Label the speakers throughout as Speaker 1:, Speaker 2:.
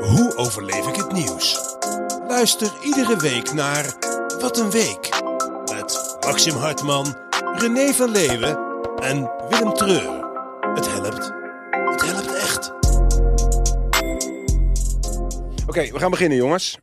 Speaker 1: Hoe overleef ik het nieuws? Luister iedere week naar Wat een Week. Met Maxim Hartman, René van Leeuwen en Willem Treur. Het helpt. Het helpt echt. Oké, we gaan beginnen jongens.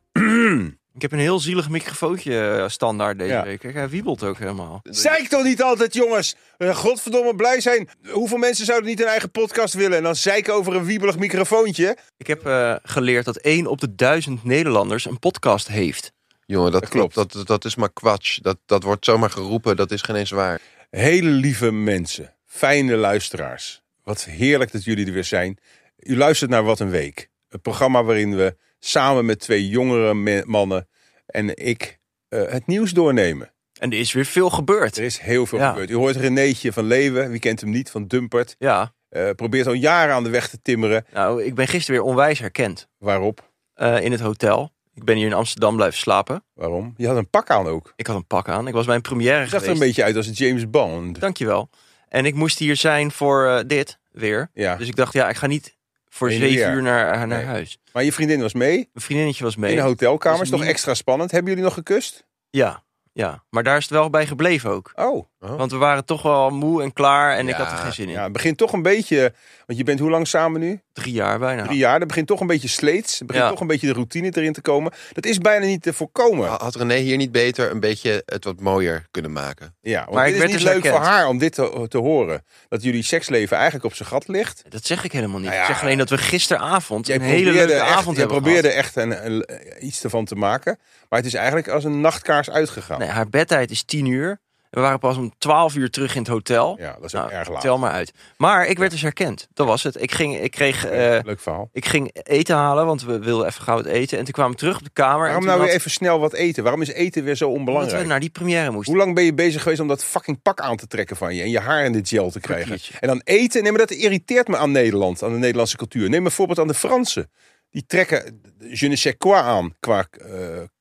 Speaker 2: Ik heb een heel zielig microfoontje eh, standaard deze
Speaker 1: Ja.
Speaker 2: week. Kijk, hij wiebelt ook helemaal.
Speaker 1: Zeik toch niet altijd jongens. Eh, Godverdomme blij zijn. Hoeveel mensen zouden niet een eigen podcast willen en dan zeiken over een wiebelig microfoontje?
Speaker 2: Ik heb eh, geleerd dat één op de duizend Nederlanders een podcast heeft.
Speaker 3: Jongen, dat,
Speaker 1: Dat
Speaker 3: klopt. Dat, dat is maar kwatsch. Dat, dat wordt zomaar geroepen. Dat is geen eens waar.
Speaker 1: Hele lieve mensen, fijne luisteraars. Wat heerlijk dat jullie er weer zijn. U luistert naar Wat een Week. Het programma waarin we samen met twee jongere me- mannen en ik eh, het nieuws doornemen.
Speaker 2: En er is weer veel gebeurd.
Speaker 1: Er is heel veel
Speaker 2: Ja.
Speaker 1: gebeurd. U hoort Renéetje van Leeuwen, wie kent hem niet, van Dumpert.
Speaker 2: Ja,
Speaker 1: Eh, probeert al jaren aan de weg te timmeren.
Speaker 2: nou, ik ben gisteren weer onwijs herkend
Speaker 1: Waarop?
Speaker 2: eh, in het hotel. Ik ben hier in Amsterdam blijven slapen.
Speaker 1: Waarom? Je had een pak aan ook.
Speaker 2: Ik had een pak aan. Ik was bij een première
Speaker 1: Het zag er een
Speaker 2: geweest.
Speaker 1: beetje uit als een James Bond.
Speaker 2: Dankjewel. En ik moest hier zijn voor eh, dit weer.
Speaker 1: Ja.
Speaker 2: Dus ik dacht, ja, ik ga niet voor
Speaker 1: Heen en
Speaker 2: zeven
Speaker 1: weer.
Speaker 2: uur naar, naar
Speaker 1: Nee.
Speaker 2: huis.
Speaker 1: Maar je vriendin was mee
Speaker 2: Mijn vriendinnetje was mee.
Speaker 1: in de hotelkamer.
Speaker 2: Dus
Speaker 1: Is toch
Speaker 2: niet-
Speaker 1: extra spannend. Hebben jullie nog gekust?
Speaker 2: Ja, ja. Maar daar is het wel bij gebleven ook.
Speaker 1: Oh.
Speaker 2: Want we waren toch wel moe en klaar en ik
Speaker 3: Ja,
Speaker 2: had er geen zin in.
Speaker 1: Ja, het begint toch een beetje. Want je bent hoe lang samen nu?
Speaker 2: Drie jaar bijna.
Speaker 1: Drie jaar. Er begint toch een beetje sleets. Er begint
Speaker 2: Ja.
Speaker 1: toch een beetje de routine erin te komen. Dat is bijna niet te voorkomen.
Speaker 2: Ah,
Speaker 3: Ha- Had René hier niet beter een beetje het wat mooier kunnen maken?
Speaker 1: Ja, want
Speaker 2: Maar
Speaker 1: het
Speaker 2: ik
Speaker 1: is
Speaker 2: werd
Speaker 1: niet
Speaker 2: dus
Speaker 1: leuk voor
Speaker 2: herkend.
Speaker 1: haar om dit te, te horen. Dat jullie seksleven eigenlijk op zijn gat ligt.
Speaker 2: Dat zeg ik helemaal niet.
Speaker 1: Nou ja,
Speaker 2: ik zeg alleen dat we gisteravond
Speaker 1: Jij
Speaker 2: een hele
Speaker 1: probeerde
Speaker 2: leuke
Speaker 1: echt,
Speaker 2: avond
Speaker 1: jij
Speaker 2: hebben
Speaker 1: probeerde echt een, een- iets ervan te maken. Maar het is eigenlijk als een nachtkaars uitgegaan.
Speaker 2: gehad. Nee, haar bedtijd is tien uur. We waren pas om twaalf uur terug in het hotel.
Speaker 1: Ja, dat is
Speaker 2: Nou,
Speaker 1: ook erg laat.
Speaker 2: tel maar uit. Maar ik werd dus herkend. Dat was het. Ik ging, ik kreeg, eh,
Speaker 1: Leuk verhaal.
Speaker 2: ik ging eten halen, want we wilden even gauw het eten. En toen kwamen we terug op de kamer. en
Speaker 1: Waarom
Speaker 2: toen
Speaker 1: nou weer
Speaker 2: had-
Speaker 1: even snel wat eten? Waarom is eten weer zo
Speaker 2: Omdat
Speaker 1: onbelangrijk?
Speaker 2: we naar die première moesten.
Speaker 1: Hoe lang ben je bezig geweest om dat fucking pak aan te trekken van je en je haar in de gel te krijgen?
Speaker 2: Kwartiertje.
Speaker 1: En dan eten, nee, maar dat irriteert me aan Nederland, aan de Nederlandse cultuur. Neem een voorbeeld aan de Fransen. Die trekken je ne sais quoi aan qua eh,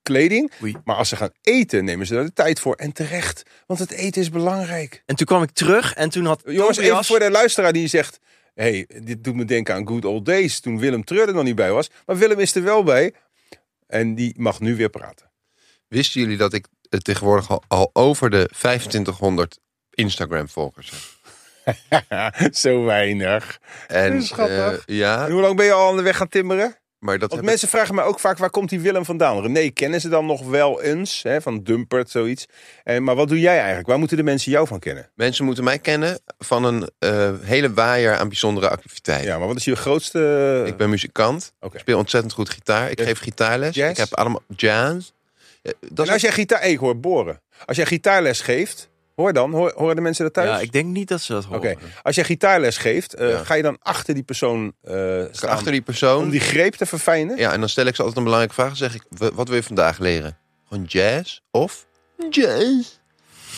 Speaker 1: kleding.
Speaker 2: Oei.
Speaker 1: Maar als ze gaan eten, nemen ze daar de tijd voor. En terecht, want het eten is belangrijk.
Speaker 2: En toen kwam ik terug en toen had
Speaker 1: Jongens,
Speaker 2: Tobias-
Speaker 1: even voor de luisteraar die zegt... hey, dit doet me denken aan Good Old Days, toen Willem Treur er nog niet bij was. Maar Willem is er wel bij. En die mag nu weer praten.
Speaker 3: Wisten jullie dat ik eh, tegenwoordig al, al over de 2500 Instagram-volgers heb?
Speaker 1: Zo weinig.
Speaker 3: En,
Speaker 1: Schattig.
Speaker 3: eh,
Speaker 1: En
Speaker 3: ja,
Speaker 1: hoe lang ben je al aan de weg gaan timmeren?
Speaker 3: maar dat
Speaker 1: Want
Speaker 3: heb
Speaker 1: mensen vragen mij ook vaak, waar komt die Willem vandaan? René, kennen ze dan nog wel eens? Hè, van Dumpert, zoiets. En, maar wat doe jij eigenlijk? Waar moeten de mensen jou van kennen?
Speaker 3: ik- mensen moeten mij kennen van een eh, hele waaier aan bijzondere activiteiten.
Speaker 1: Ja, maar wat is je grootste...
Speaker 3: Ik ben muzikant.
Speaker 1: Oké.
Speaker 3: Ik speel ontzettend goed gitaar. Ik
Speaker 1: Jazz-
Speaker 3: geef gitaarles.
Speaker 1: jazz?
Speaker 3: Ik heb allemaal jazz. Eh, Dat
Speaker 1: en als jij gitaar... eh, Ik hoor boren. Als jij gitaarles geeft, hoor dan, hoor, horen de mensen dat thuis?
Speaker 2: Ja, ik denk niet dat ze dat
Speaker 1: Oké,
Speaker 2: horen.
Speaker 1: als jij gitaarles geeft, eh,
Speaker 3: Ja.
Speaker 1: ga je dan achter die persoon eh staan
Speaker 3: achter die persoon.
Speaker 1: om die greep te verfijnen?
Speaker 3: Ja, en dan stel ik ze altijd een belangrijke vraag. Dan zeg ik, "Wa- wat wil je vandaag leren? Gewoon jazz of jazz?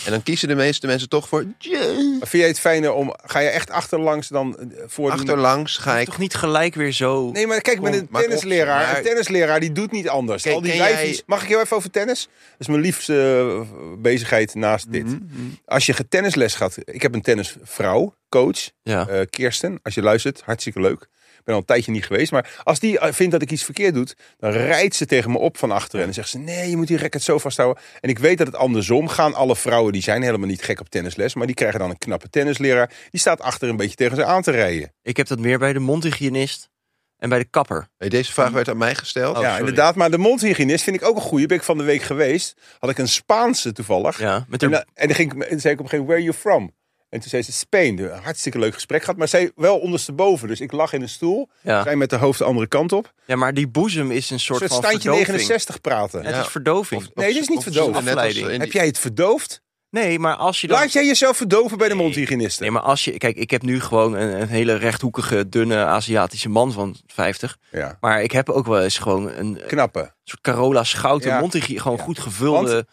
Speaker 3: En dan kiezen de meeste mensen toch voor jazz.
Speaker 1: Vind jij het fijner om... Ga je echt achterlangs dan eh, voor... die-
Speaker 3: Achterlangs ga ik...
Speaker 2: Toch niet gelijk weer zo.
Speaker 1: Nee, maar kijk, met een
Speaker 3: maar op,
Speaker 1: tennisleraar,
Speaker 3: maar-
Speaker 1: een tennisleraar die doet niet anders.
Speaker 3: Kijk,
Speaker 1: Al die
Speaker 3: ken jij-
Speaker 1: wijfies. Mag ik heel even over tennis? Dat is mijn liefste eh, bezigheid naast dit.
Speaker 3: Mhm,
Speaker 1: Als je tennisles gaat, ik heb een tennisvrouw, coach,
Speaker 2: Ja.
Speaker 1: eh, Kirsten. Als je luistert, hartstikke leuk. Ik ben al een tijdje niet geweest, maar als die eh, vindt dat ik iets verkeerd doe, dan rijdt ze tegen me op van achteren. En dan zegt ze: Nee, je moet die racket zo vasthouden. En ik weet dat het andersom gaan. Alle vrouwen die zijn helemaal niet gek op tennisles, maar die krijgen dan een knappe tennisleraar. Die staat achter een beetje tegen ze aan te rijden.
Speaker 2: Ik heb dat meer bij de mondhygiënist en bij de kapper.
Speaker 3: Hey, Deze vraag werd aan mij gesteld.
Speaker 2: Oh,
Speaker 1: ja,
Speaker 2: sorry.
Speaker 1: inderdaad. Maar de mondhygiënist vind ik ook een goede. Ben ik van de week geweest. Had ik een Spaanse toevallig.
Speaker 2: Ja, met
Speaker 1: En,
Speaker 2: haar
Speaker 1: dan- en dan ging ik, en toen zei ik op een gegeven moment, where are you from? En toen zei ze, Spain. Een hartstikke leuk gesprek gehad. Maar zij wel ondersteboven. Dus ik lag in een stoel.
Speaker 2: Ja.
Speaker 1: Zij met de hoofd de andere kant op. Een
Speaker 2: ja, maar die boezem is een soort
Speaker 1: soort
Speaker 2: van
Speaker 1: standje
Speaker 2: verdoving.
Speaker 1: 69 praten.
Speaker 2: Het
Speaker 3: Ja.
Speaker 2: is verdoving.
Speaker 1: Nee, dit is niet
Speaker 3: Of ze
Speaker 1: verdoofd.
Speaker 3: doen net als, eh, in
Speaker 1: Heb
Speaker 3: die-
Speaker 1: jij het verdoofd?
Speaker 2: Nee, maar als je dan...
Speaker 1: Laat jij jezelf verdoven bij de mondhygiënisten?
Speaker 2: Nee, maar als je... Kijk, ik heb nu gewoon een, een hele rechthoekige, dunne Aziatische man van 50.
Speaker 1: Ja.
Speaker 2: Maar ik heb ook wel eens gewoon een eh,
Speaker 1: Knappen.
Speaker 2: soort Carola Schouten
Speaker 1: Ja.
Speaker 2: mondhygiëne. Gewoon goed gevulde...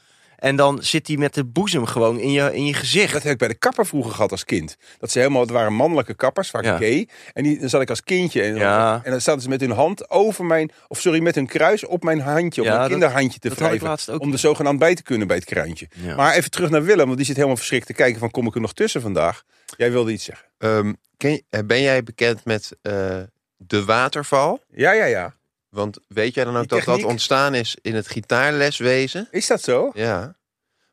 Speaker 2: En dan zit die met de boezem gewoon in je, in je gezicht.
Speaker 1: Dat heb ik bij de kapper vroeger gehad als kind. Dat ze helemaal, het waren mannelijke kappers, vaak
Speaker 2: Ja.
Speaker 1: gay. En die, dan zat ik als kindje en,
Speaker 2: Ja.
Speaker 1: en dan zaten ze met hun hand over mijn, of sorry, met hun kruis op mijn handje, op
Speaker 2: Ja,
Speaker 1: mijn
Speaker 2: dat-
Speaker 1: kinderhandje te
Speaker 2: dat had ik
Speaker 1: wrijven.
Speaker 2: laatst ook.
Speaker 1: Om er zogenaamd bij te kunnen bij het kruintje.
Speaker 2: Ja.
Speaker 1: Maar even terug naar Willem, want die zit helemaal verschrikt te kijken van kom ik er nog tussen vandaag. Jij wilde iets zeggen.
Speaker 3: Ehm, ken je- eh, ben jij bekend met eh, de waterval?
Speaker 1: Ja, ja, ja.
Speaker 3: Want weet jij dan ook
Speaker 1: Die
Speaker 3: dat dat
Speaker 1: techniek?
Speaker 3: ontstaan is in het gitaarleswezen?
Speaker 1: Is dat zo?
Speaker 3: Ja.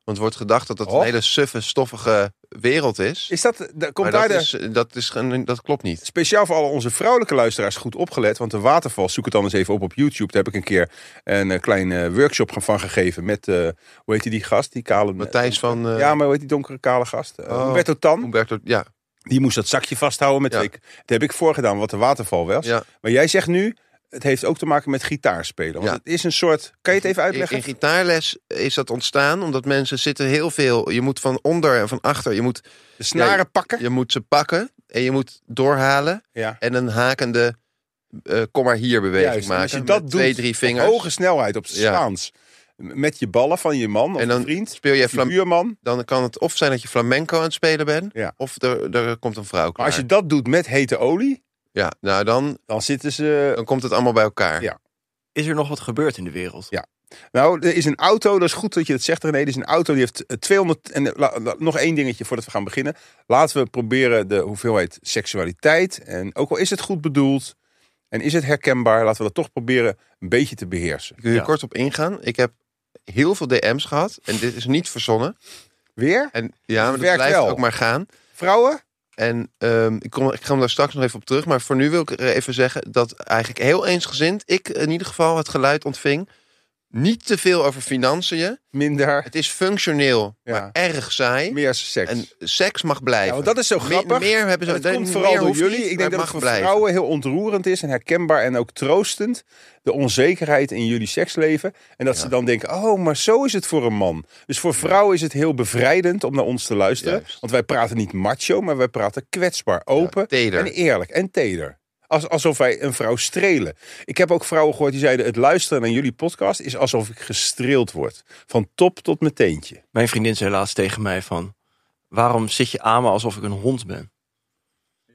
Speaker 3: Want er wordt gedacht dat dat
Speaker 1: Och.
Speaker 3: een hele suffe, stoffige wereld is.
Speaker 1: Is dat, da- komt
Speaker 3: maar
Speaker 1: daar
Speaker 3: dat,
Speaker 1: de...
Speaker 3: is, eh, dat, is, geen- dat klopt niet.
Speaker 1: Speciaal voor alle onze vrouwelijke luisteraars goed opgelet. Want de waterval, zoek het dan eens even op op YouTube. Daar heb ik een keer een eh, klein eh, workshop van gegeven met, eh, hoe heet die, die gast? Die kale...
Speaker 3: Matthijs van eh
Speaker 1: ja, maar hoe heet die donkere kale gast? Eh,
Speaker 3: Oh.
Speaker 1: Humberto Tan.
Speaker 3: Humberto, ja,
Speaker 1: Die moest dat zakje vasthouden met
Speaker 3: Ja.
Speaker 1: ik. Dat heb ik voorgedaan, wat de waterval was.
Speaker 3: ja.
Speaker 1: Maar jij zegt nu, het heeft ook te maken met gitaarspelen. Want
Speaker 3: Ja.
Speaker 1: het is een soort... Kan je het even
Speaker 3: In,
Speaker 1: uitleggen?
Speaker 3: in gitaarles is dat ontstaan omdat mensen zitten heel veel. Je moet van onder en van achter. Je moet,
Speaker 1: de snaren
Speaker 3: Ja,
Speaker 1: pakken?
Speaker 3: je moet ze pakken en je moet doorhalen
Speaker 1: Ja.
Speaker 3: en een hakende eh, kom maar hier beweging
Speaker 1: Juist, en
Speaker 3: maken.
Speaker 1: als je
Speaker 3: Met
Speaker 1: dat
Speaker 3: twee,
Speaker 1: doet,
Speaker 3: drie
Speaker 1: op
Speaker 3: vingers.
Speaker 1: hoge snelheid, op
Speaker 3: Ja.
Speaker 1: staans. Met je ballen van je man of
Speaker 3: En dan
Speaker 1: je vriend.
Speaker 3: Speel jij
Speaker 1: Je
Speaker 3: flam
Speaker 1: buurman.
Speaker 3: dan kan het of zijn dat je flamenco aan het spelen bent,
Speaker 1: Ja.
Speaker 3: of er, er komt een vrouw
Speaker 1: Maar
Speaker 3: klaar.
Speaker 1: als je dat doet met hete olie,
Speaker 3: Ja, nou dan,
Speaker 1: dan zitten ze...
Speaker 3: dan komt het allemaal bij elkaar.
Speaker 1: Eh, Ja.
Speaker 2: Is er nog wat gebeurd in de wereld?
Speaker 1: Nou, er is een auto, dat is goed dat je dat zegt René, er is een auto die heeft eh, 200... En eh, la- la- nog één dingetje voordat we gaan beginnen. Laten we proberen de hoeveelheid seksualiteit. En ook al is het goed bedoeld en is het herkenbaar, laten we dat toch proberen een beetje te beheersen.
Speaker 3: Ik wil hier
Speaker 2: Ja.
Speaker 3: kort op ingaan. Ik heb heel veel DM's gehad en dit is niet verzonnen.
Speaker 1: Weer?
Speaker 3: En ja, maar dat
Speaker 1: werkt
Speaker 3: blijft
Speaker 1: wel.
Speaker 3: ook maar gaan.
Speaker 1: Vrouwen?
Speaker 3: En ehm, ik, kom, ik ga hem daar straks nog even op terug. Maar voor nu wil ik er even zeggen dat eigenlijk heel eensgezind ik in ieder geval het geluid ontving. Niet te veel over financiën.
Speaker 1: Minder.
Speaker 3: Het is functioneel,
Speaker 1: Ja.
Speaker 3: maar erg saai.
Speaker 1: Meer seks.
Speaker 3: En seks mag blijven.
Speaker 1: Ja, want dat is zo
Speaker 3: Me-
Speaker 1: grappig.
Speaker 3: meer hebben ze,
Speaker 1: Dat komt
Speaker 3: meer
Speaker 1: vooral door
Speaker 3: hoeft
Speaker 1: jullie.
Speaker 3: niet,
Speaker 1: ik
Speaker 3: maar
Speaker 1: denk dat het
Speaker 3: mag
Speaker 1: voor
Speaker 3: blijven.
Speaker 1: vrouwen heel ontroerend is en herkenbaar en ook troostend. De onzekerheid in jullie seksleven. En dat
Speaker 3: Ja.
Speaker 1: ze dan denken, oh, maar zo is het voor een man. Dus voor vrouwen is het heel bevrijdend om naar ons te luisteren.
Speaker 3: Juist.
Speaker 1: Want wij praten niet macho, maar wij praten kwetsbaar, open
Speaker 3: teder.
Speaker 1: en eerlijk en teder. Als, alsof wij een vrouw strelen. Ik heb ook vrouwen gehoord die zeiden, het luisteren naar jullie podcast is alsof ik gestreeld word. Van top tot mijn teentje.
Speaker 2: Mijn vriendin zei laatst tegen mij van... waarom zit je aan me alsof ik een hond ben?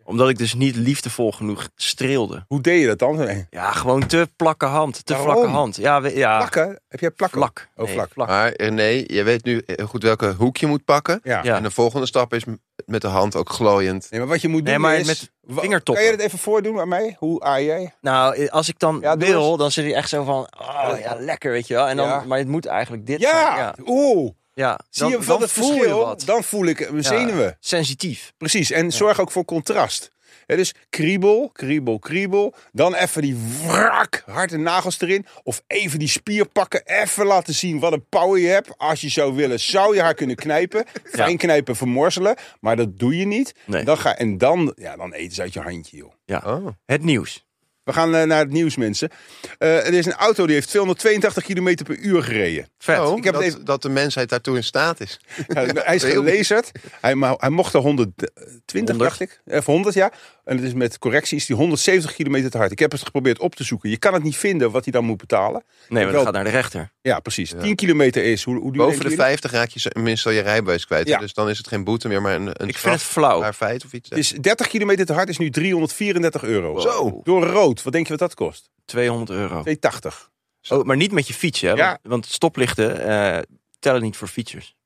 Speaker 2: Omdat ik dus niet liefdevol genoeg streelde.
Speaker 1: Hoe deed je dat dan?
Speaker 2: Ja, gewoon te plakke hand. Te
Speaker 1: Waarom?
Speaker 2: vlakke hand. Ja, we- ja
Speaker 3: Ah.
Speaker 1: Plakken? Heb jij plakken?
Speaker 2: vlak.
Speaker 1: Oh,
Speaker 2: Nee,
Speaker 1: vlak.
Speaker 3: Maar René, je weet nu heel goed welke hoek je moet pakken.
Speaker 1: Ja.
Speaker 2: Ja.
Speaker 3: En de volgende stap is m- met de hand ook glooiend.
Speaker 1: Nee, maar wat je moet doen
Speaker 2: Nee, maar
Speaker 1: is...
Speaker 2: met
Speaker 1: Wa-
Speaker 2: vingertoppen.
Speaker 1: Kan je dat even voordoen aan mij? Hoe aai jij?
Speaker 2: Nou, eh, als ik dan
Speaker 1: Ja, doe
Speaker 2: wil,
Speaker 1: eens.
Speaker 2: dan zit hij echt zo van... Oh, ja, lekker, weet je wel. En dan,
Speaker 1: Ja.
Speaker 2: Maar het moet eigenlijk dit zijn.
Speaker 1: Ja!
Speaker 2: Ja,
Speaker 1: Oeh!
Speaker 2: ja.
Speaker 1: Zie je van het verschil? Dan voel ik mijn
Speaker 2: Ja,
Speaker 1: zenuwen.
Speaker 2: Sensitief.
Speaker 1: Precies. En zorg ook voor contrast. Hè, dus kriebel, kriebel, kriebel. Dan even die wrak, harde nagels erin. Of even die spier pakken. Even laten zien wat een power je hebt. Als je zou willen, zou je haar kunnen knijpen. Fijn knijpen, vermorzelen. Maar dat doe je niet.
Speaker 2: Nee.
Speaker 1: Dan ga, en dan, ja, dan eten ze uit je handje, joh.
Speaker 2: Ja.
Speaker 3: Oh.
Speaker 2: Het nieuws.
Speaker 1: We gaan eh, naar het nieuws, mensen. Eh, er is een auto die heeft 282 km per uur gereden.
Speaker 2: Vet.
Speaker 3: Oh,
Speaker 1: Ik heb
Speaker 3: dat,
Speaker 1: het even-
Speaker 3: dat de mensheid daartoe in staat is.
Speaker 1: Ja, hij is
Speaker 3: heel-
Speaker 1: gelezerd. Hij, ma- hij mocht er 120,
Speaker 2: 100.
Speaker 1: dacht ik. Of 100, ja. En het is met correctie is die 170 km te hard. Ik heb het geprobeerd op te zoeken. Je kan het niet vinden wat hij dan moet betalen.
Speaker 2: Nee, maar
Speaker 1: wel-
Speaker 2: dat gaat naar de rechter.
Speaker 1: Ja, precies. 10 kilometer is. Hoe, hoe duur
Speaker 3: Boven
Speaker 1: denken
Speaker 3: de
Speaker 1: jullie?
Speaker 3: 50 raak je minstens al je rijbewijs kwijt.
Speaker 1: Ja.
Speaker 3: Dus dan is het geen boete meer, maar een, een
Speaker 2: Ik vind het flauw.
Speaker 3: strafbaar feit of iets.
Speaker 1: Oh. Het is 30 kilometer te hard is nu 334 euro.
Speaker 2: Zo.
Speaker 1: Door rood. Wat denk je wat dat kost?
Speaker 2: 200 euro.
Speaker 1: 280.
Speaker 2: Oh, maar niet met je fiets, hè?
Speaker 1: Ja.
Speaker 2: Want, want stoplichten eh, tellen niet voor fietsers.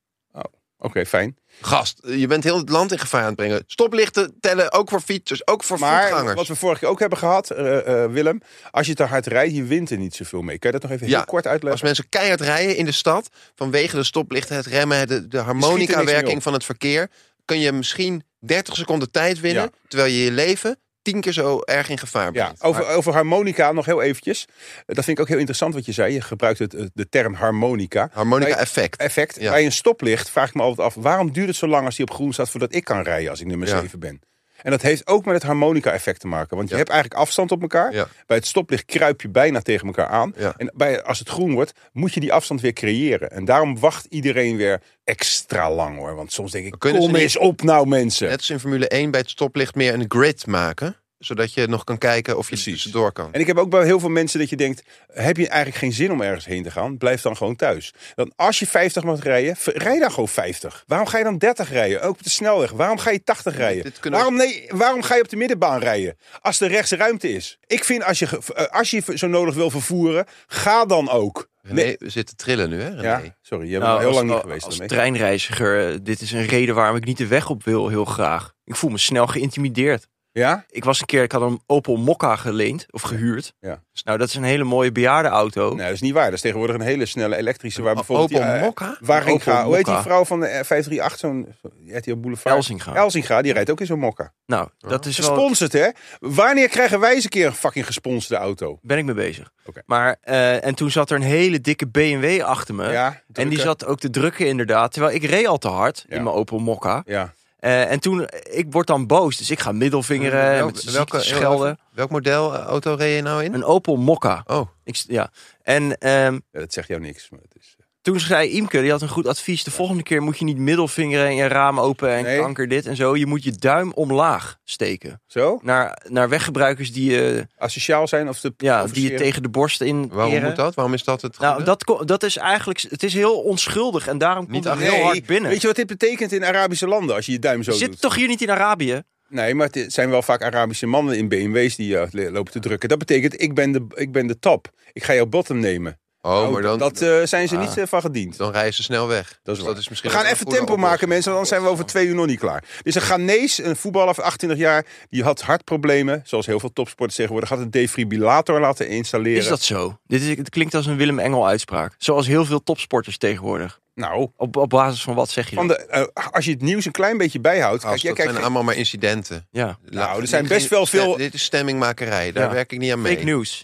Speaker 1: Oké, fijn.
Speaker 3: Gast, je bent heel het land in gevaar aan het brengen. Stoplichten tellen ook voor fietsers, ook voor
Speaker 1: Maar
Speaker 3: voetgangers.
Speaker 1: wat we vorige keer ook hebben gehad, eh, eh, Willem. Als je te hard rijdt, je wint er niet zoveel mee. Kan je dat nog even
Speaker 3: Ja,
Speaker 1: heel kort
Speaker 3: Als
Speaker 1: uitleggen?
Speaker 3: mensen keihard rijden in de stad, vanwege de stoplichten, het remmen, de, de
Speaker 1: niks meer
Speaker 3: harmonica-werking
Speaker 1: op.
Speaker 3: van het verkeer, kun je misschien 30 seconden tijd winnen,
Speaker 1: Ja.
Speaker 3: terwijl je je leven tien keer zo erg in gevaar
Speaker 1: Ja,
Speaker 3: brengt.
Speaker 1: over,
Speaker 3: Maar
Speaker 1: over harmonica nog heel eventjes. Eh, Dat vind ik ook heel interessant wat je zei. Je gebruikt het, eh, de term harmonica.
Speaker 3: harmonica-effect.
Speaker 1: Effect.
Speaker 3: Ja.
Speaker 1: Bij een stoplicht vraag ik me altijd af... waarom duurt het zo lang als die op groen staat... voordat ik kan rijden als ik nummer
Speaker 3: Ja.
Speaker 1: 7 ben? En dat heeft ook met het harmonica-effect te maken. Want je
Speaker 3: Ja.
Speaker 1: hebt eigenlijk afstand op elkaar.
Speaker 3: Ja.
Speaker 1: Bij het stoplicht kruip je bijna tegen elkaar aan.
Speaker 3: Ja.
Speaker 1: En bij, als het groen wordt, moet je die afstand weer creëren. En daarom wacht iedereen weer extra lang hoor. Want soms denk ik,
Speaker 3: Kunnen ze
Speaker 1: kom
Speaker 3: niet-
Speaker 1: eens op nou mensen.
Speaker 3: Net als in Formule 1 bij het stoplicht meer een grid maken. Zodat je nog kan kijken of je
Speaker 1: Precies.
Speaker 3: tussendoor kan.
Speaker 1: En ik heb ook bij heel veel mensen dat je denkt: heb je eigenlijk geen zin om ergens heen te gaan? Blijf dan gewoon thuis. Dan als je 50 mag rijden, ver- rij dan gewoon 50. Waarom ga je dan 30 rijden? Ook op de snelweg. Waarom ga je 80 rijden?
Speaker 3: dit kunnen we-
Speaker 1: Waarom, nee, waarom ga je op de middenbaan rijden? Als er rechts ruimte is. Ik vind als je, ge- eh, als je zo nodig wil vervoeren, ga dan ook.
Speaker 3: René, we zitten trillen nu, hè? René?
Speaker 1: Ja, sorry, je bent
Speaker 2: Nou,
Speaker 1: al heel
Speaker 2: als-
Speaker 1: lang niet
Speaker 2: al-
Speaker 1: geweest.
Speaker 2: Als
Speaker 1: daarmee.
Speaker 2: treinreiziger, eh, dit is een reden waarom ik niet de weg op wil, heel graag. Ik voel me snel geïntimideerd.
Speaker 1: Ja?
Speaker 2: Ik was een keer, ik had een Opel Mokka geleend of gehuurd.
Speaker 1: Ja.
Speaker 2: Nou, dat is een hele mooie bejaardenauto.
Speaker 1: Nee, dat is niet waar. Dat is tegenwoordig een hele snelle
Speaker 2: Oh,
Speaker 1: elektrische. Waar bijvoorbeeld
Speaker 3: Opel
Speaker 1: die, eh,
Speaker 3: Mokka?
Speaker 1: Waarin
Speaker 2: Opel
Speaker 1: ga, hoe heet die
Speaker 2: Mokka.
Speaker 1: vrouw van de eh, 538, zo'n zo'n RTL Boulevard?
Speaker 2: Elsinga.
Speaker 1: Elsinga, die rijdt ook in zo'n mokka.
Speaker 2: Nou, dat is wel...
Speaker 1: Gesponsord, hè? Wanneer krijgen wij eens een keer een fucking gesponsorde auto?
Speaker 2: Ben ik mee bezig.
Speaker 1: Oké.
Speaker 2: Maar, eh, en toen zat er een hele dikke BMW achter me.
Speaker 1: Ja,
Speaker 2: en die
Speaker 1: drukker.
Speaker 2: zat ook te drukken inderdaad. Terwijl ik reed al te hard
Speaker 1: Ja.
Speaker 2: in mijn Opel Mokka.
Speaker 1: Ja,
Speaker 2: Eh, en toen, ik word dan boos. Dus ik ga middelvingeren en
Speaker 3: Welk-
Speaker 2: met welke,
Speaker 3: heel
Speaker 2: schelden.
Speaker 3: even, welk model eh, auto reed je nou in?
Speaker 2: Een Opel Mokka.
Speaker 3: Oh,
Speaker 2: Ik, s- ja. En ehm,
Speaker 1: Ja, dat zegt jou niks. Maar het is... eh,
Speaker 2: toen zei Imke, die had een goed advies. De volgende keer moet je niet middelvingeren en je raam open en
Speaker 1: Nee.
Speaker 2: kanker dit en zo. Je moet je duim omlaag steken.
Speaker 1: Zo?
Speaker 2: Naar, naar weggebruikers die, je-
Speaker 1: Asociaal zijn of de.
Speaker 2: ja,
Speaker 1: of
Speaker 2: die je
Speaker 1: zeer-
Speaker 2: tegen de borst in
Speaker 3: waarom
Speaker 2: keren.
Speaker 3: moet dat? Waarom is dat het
Speaker 2: Nou,
Speaker 3: goede?
Speaker 2: dat, ko- dat is eigenlijk, het is heel onschuldig en daarom komt
Speaker 3: Niet
Speaker 2: het
Speaker 1: Nee,
Speaker 2: heel hard binnen.
Speaker 1: Weet je wat dit betekent in Arabische landen als je je duim zo
Speaker 2: Zit
Speaker 1: doet?
Speaker 2: toch hier niet in Arabië?
Speaker 1: Nee, maar het zijn wel vaak Arabische mannen in BMW's die eh, le- lopen te drukken. Dat betekent, ik ben de, ik ben de top. Ik ga jouw bottom nemen.
Speaker 3: Oh,
Speaker 1: Nou,
Speaker 3: maar dan,
Speaker 1: Dat eh, zijn ze
Speaker 2: Ah.
Speaker 1: niet eh, van gediend.
Speaker 3: dan rijden ze snel weg.
Speaker 1: Dat is
Speaker 3: Dus
Speaker 1: waar.
Speaker 3: misschien
Speaker 1: We gaan
Speaker 3: wel een
Speaker 1: even
Speaker 3: goede
Speaker 1: tempo
Speaker 3: oplossing.
Speaker 1: maken, mensen, anders zijn we over twee uur nog niet klaar. Dus een Ghanese, een voetballer van 28 jaar, die had hartproblemen. Zoals heel veel topsporters tegenwoordig, had een defibrillator laten installeren.
Speaker 2: Is dat zo? Dit is, het klinkt als een Willem Engel uitspraak. Zoals heel veel topsporters tegenwoordig.
Speaker 1: Nou,
Speaker 2: Op, op basis van wat zeg je dan?
Speaker 1: van de, eh, als je het nieuws een klein beetje bijhoudt.
Speaker 3: Als,
Speaker 1: Kijk, jij
Speaker 3: dat
Speaker 1: kijkt
Speaker 3: zijn
Speaker 1: geen-
Speaker 3: allemaal maar incidenten.
Speaker 2: Ja.
Speaker 1: Nou, er
Speaker 3: Dit
Speaker 1: zijn
Speaker 3: is
Speaker 1: best
Speaker 3: geen
Speaker 1: wel
Speaker 3: stem-
Speaker 1: veel-
Speaker 3: Dit is stemmingmakerij, daar
Speaker 2: Ja.
Speaker 3: werk ik niet aan mee.
Speaker 2: Fake news.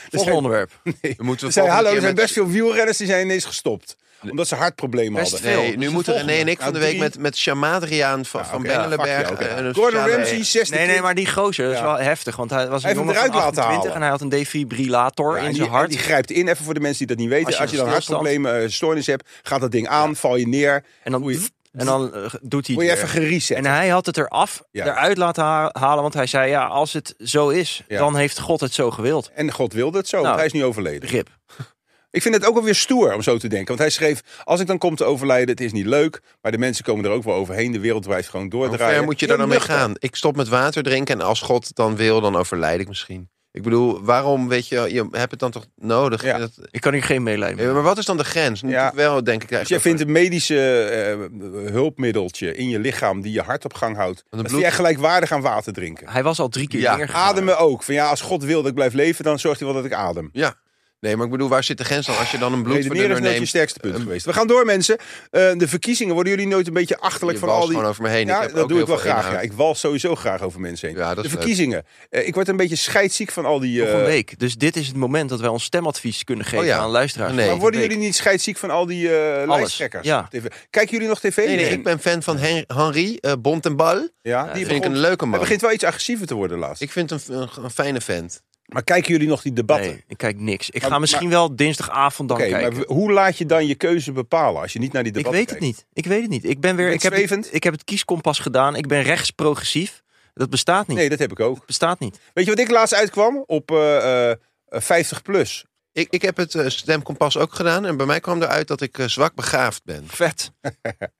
Speaker 1: zijn-
Speaker 2: Volgende onderwerp.
Speaker 3: Dan moeten
Speaker 1: er zijn,
Speaker 3: we volgende
Speaker 1: hallo,
Speaker 3: keer
Speaker 1: er zijn
Speaker 3: met-
Speaker 1: best veel wielrenners die zijn ineens gestopt. Omdat ze hartproblemen
Speaker 2: Best
Speaker 1: hadden.
Speaker 2: veel.
Speaker 3: Nee,
Speaker 2: Dat is
Speaker 3: nu
Speaker 2: de
Speaker 3: moeten René en
Speaker 2: volgende.
Speaker 3: ik van
Speaker 1: Nou,
Speaker 3: de week
Speaker 1: drie. Nou,
Speaker 3: met, met Shamadriaan van, van
Speaker 1: oké,
Speaker 3: Bengelenberg.
Speaker 1: fuck je, oké.
Speaker 3: en een
Speaker 1: Gordon
Speaker 3: sociale-
Speaker 1: Ramsay, 16
Speaker 2: Nee, nee, maar die gozer dat is
Speaker 1: Ja.
Speaker 2: wel heftig. Want hij was een
Speaker 1: Hij heeft hem
Speaker 2: jongen van
Speaker 1: eruit laten
Speaker 2: 28 en
Speaker 1: halen.
Speaker 2: hij had een defibrillator
Speaker 1: Ja, en
Speaker 2: in
Speaker 1: die,
Speaker 2: zijn
Speaker 1: en
Speaker 2: hart.
Speaker 1: die grijpt in, even voor de mensen die dat niet weten. Als
Speaker 2: Als
Speaker 1: je,
Speaker 2: je
Speaker 1: dan
Speaker 2: een stilstand-
Speaker 1: hartproblemen, eh, stoornis hebt, gaat dat ding aan, val je neer.
Speaker 2: en dan,
Speaker 1: Oei.
Speaker 2: en dan eh, doet hij
Speaker 1: Word je
Speaker 2: het
Speaker 1: even
Speaker 2: weer.
Speaker 1: gereset.
Speaker 2: En hij had het eraf,
Speaker 1: Ja.
Speaker 2: eruit laten ha- halen. Want hij zei, ja, als het zo is,
Speaker 1: Ja.
Speaker 2: dan heeft God het zo gewild.
Speaker 1: En God wilde het zo, want
Speaker 2: Nou.
Speaker 1: hij is nu overleden.
Speaker 2: Rip.
Speaker 1: Ik vind het ook wel weer stoer om zo te denken. Want hij schreef, als ik dan kom te overlijden, het is niet leuk. Maar de mensen komen er ook wel overheen. De wereld blijft gewoon
Speaker 3: Hoe
Speaker 1: doordraaien.
Speaker 3: ver moet je daar dan mee
Speaker 1: Nuchter.
Speaker 3: gaan? Ik stop met water drinken en als God dan wil, dan overlijd ik misschien. Ik bedoel, waarom weet je, je hebt het dan toch nodig?
Speaker 1: Ja.
Speaker 3: Dat-
Speaker 2: Ik kan hier geen meelijden mee.
Speaker 3: Ja, maar wat is dan de grens? Nu
Speaker 1: Ja.
Speaker 3: moet ik wel, denk ik.
Speaker 1: Dus jij
Speaker 3: eigenlijk
Speaker 1: vindt
Speaker 3: over-
Speaker 1: een medische eh, hulpmiddeltje in je lichaam die je hart op gang houdt. Dat
Speaker 3: bloed-
Speaker 1: vind jij gelijkwaardig aan water drinken.
Speaker 2: Hij was al drie keer
Speaker 3: Ja,
Speaker 2: neergegaan.
Speaker 1: Ademen ook. Van ja, als God wil dat ik blijf leven, dan zorgt hij wel dat ik adem.
Speaker 3: Ja. Nee, maar ik bedoel, waar zit de grens dan? Als je dan een
Speaker 1: Redeneren is
Speaker 3: bloedverdunner
Speaker 1: net je
Speaker 3: neemt... ehm,
Speaker 1: sterkste punt geweest. We gaan door, mensen. Eh, de verkiezingen worden jullie nooit een beetje achterlijk
Speaker 3: Je
Speaker 1: van
Speaker 3: walst
Speaker 1: al die.
Speaker 3: gewoon over me heen. Ik
Speaker 1: Ja,
Speaker 3: heb
Speaker 1: dat
Speaker 3: ook
Speaker 1: doe ik
Speaker 3: heel
Speaker 1: wel
Speaker 3: veel
Speaker 1: graag. Ja,
Speaker 3: inhoud.
Speaker 1: ik wal sowieso graag over mensen heen.
Speaker 3: Ja, dat is
Speaker 1: de
Speaker 3: leuk.
Speaker 1: verkiezingen. Eh, ik word een beetje scheidsziek van al die.
Speaker 2: Nog
Speaker 1: eh,
Speaker 2: een week. Dus dit is het moment dat wij ons stemadvies kunnen geven
Speaker 3: Oh ja.
Speaker 2: aan luisteraars.
Speaker 3: Nee.
Speaker 1: Maar worden
Speaker 2: Week.
Speaker 1: jullie niet scheidsziek van al die eh lijsttrekkers?
Speaker 2: ja.
Speaker 1: op TV? Kijken jullie nog tv?
Speaker 3: Nee, nee, ik ben fan van Hen Henri eh Bont en Bal.
Speaker 1: Ja,
Speaker 2: Ja,
Speaker 1: die
Speaker 3: Die vind ik
Speaker 1: begon-
Speaker 3: een leuke
Speaker 1: Hij
Speaker 3: man.
Speaker 1: begint wel iets agressiever te worden laatst.
Speaker 3: Ik vind hem een, een fijne vent.
Speaker 1: Maar kijken jullie nog die debatten? Nou,
Speaker 2: Nee, ik kijk niks. Ik
Speaker 1: Maar-
Speaker 2: ga misschien wel dinsdagavond dan
Speaker 1: Oké,
Speaker 2: kijken.
Speaker 1: maar w- hoe laat je dan je keuze bepalen als je niet naar die
Speaker 2: Ik
Speaker 1: debatten
Speaker 2: weet het niet. Ik weet het niet. Ik ben weer.
Speaker 1: bent
Speaker 2: Ik heb, het,
Speaker 1: zwevend?
Speaker 2: ik heb het kieskompas gedaan. Ik ben rechts progressief. Dat bestaat niet.
Speaker 1: Nee, dat heb ik ook.
Speaker 2: Dat bestaat niet.
Speaker 1: Weet je wat ik laatst uitkwam? Op eh, eh, 50 plus.
Speaker 3: Ik, ik heb het eh, stemkompas ook gedaan. En bij mij kwam eruit dat ik eh, zwak begaafd ben.
Speaker 2: Vet.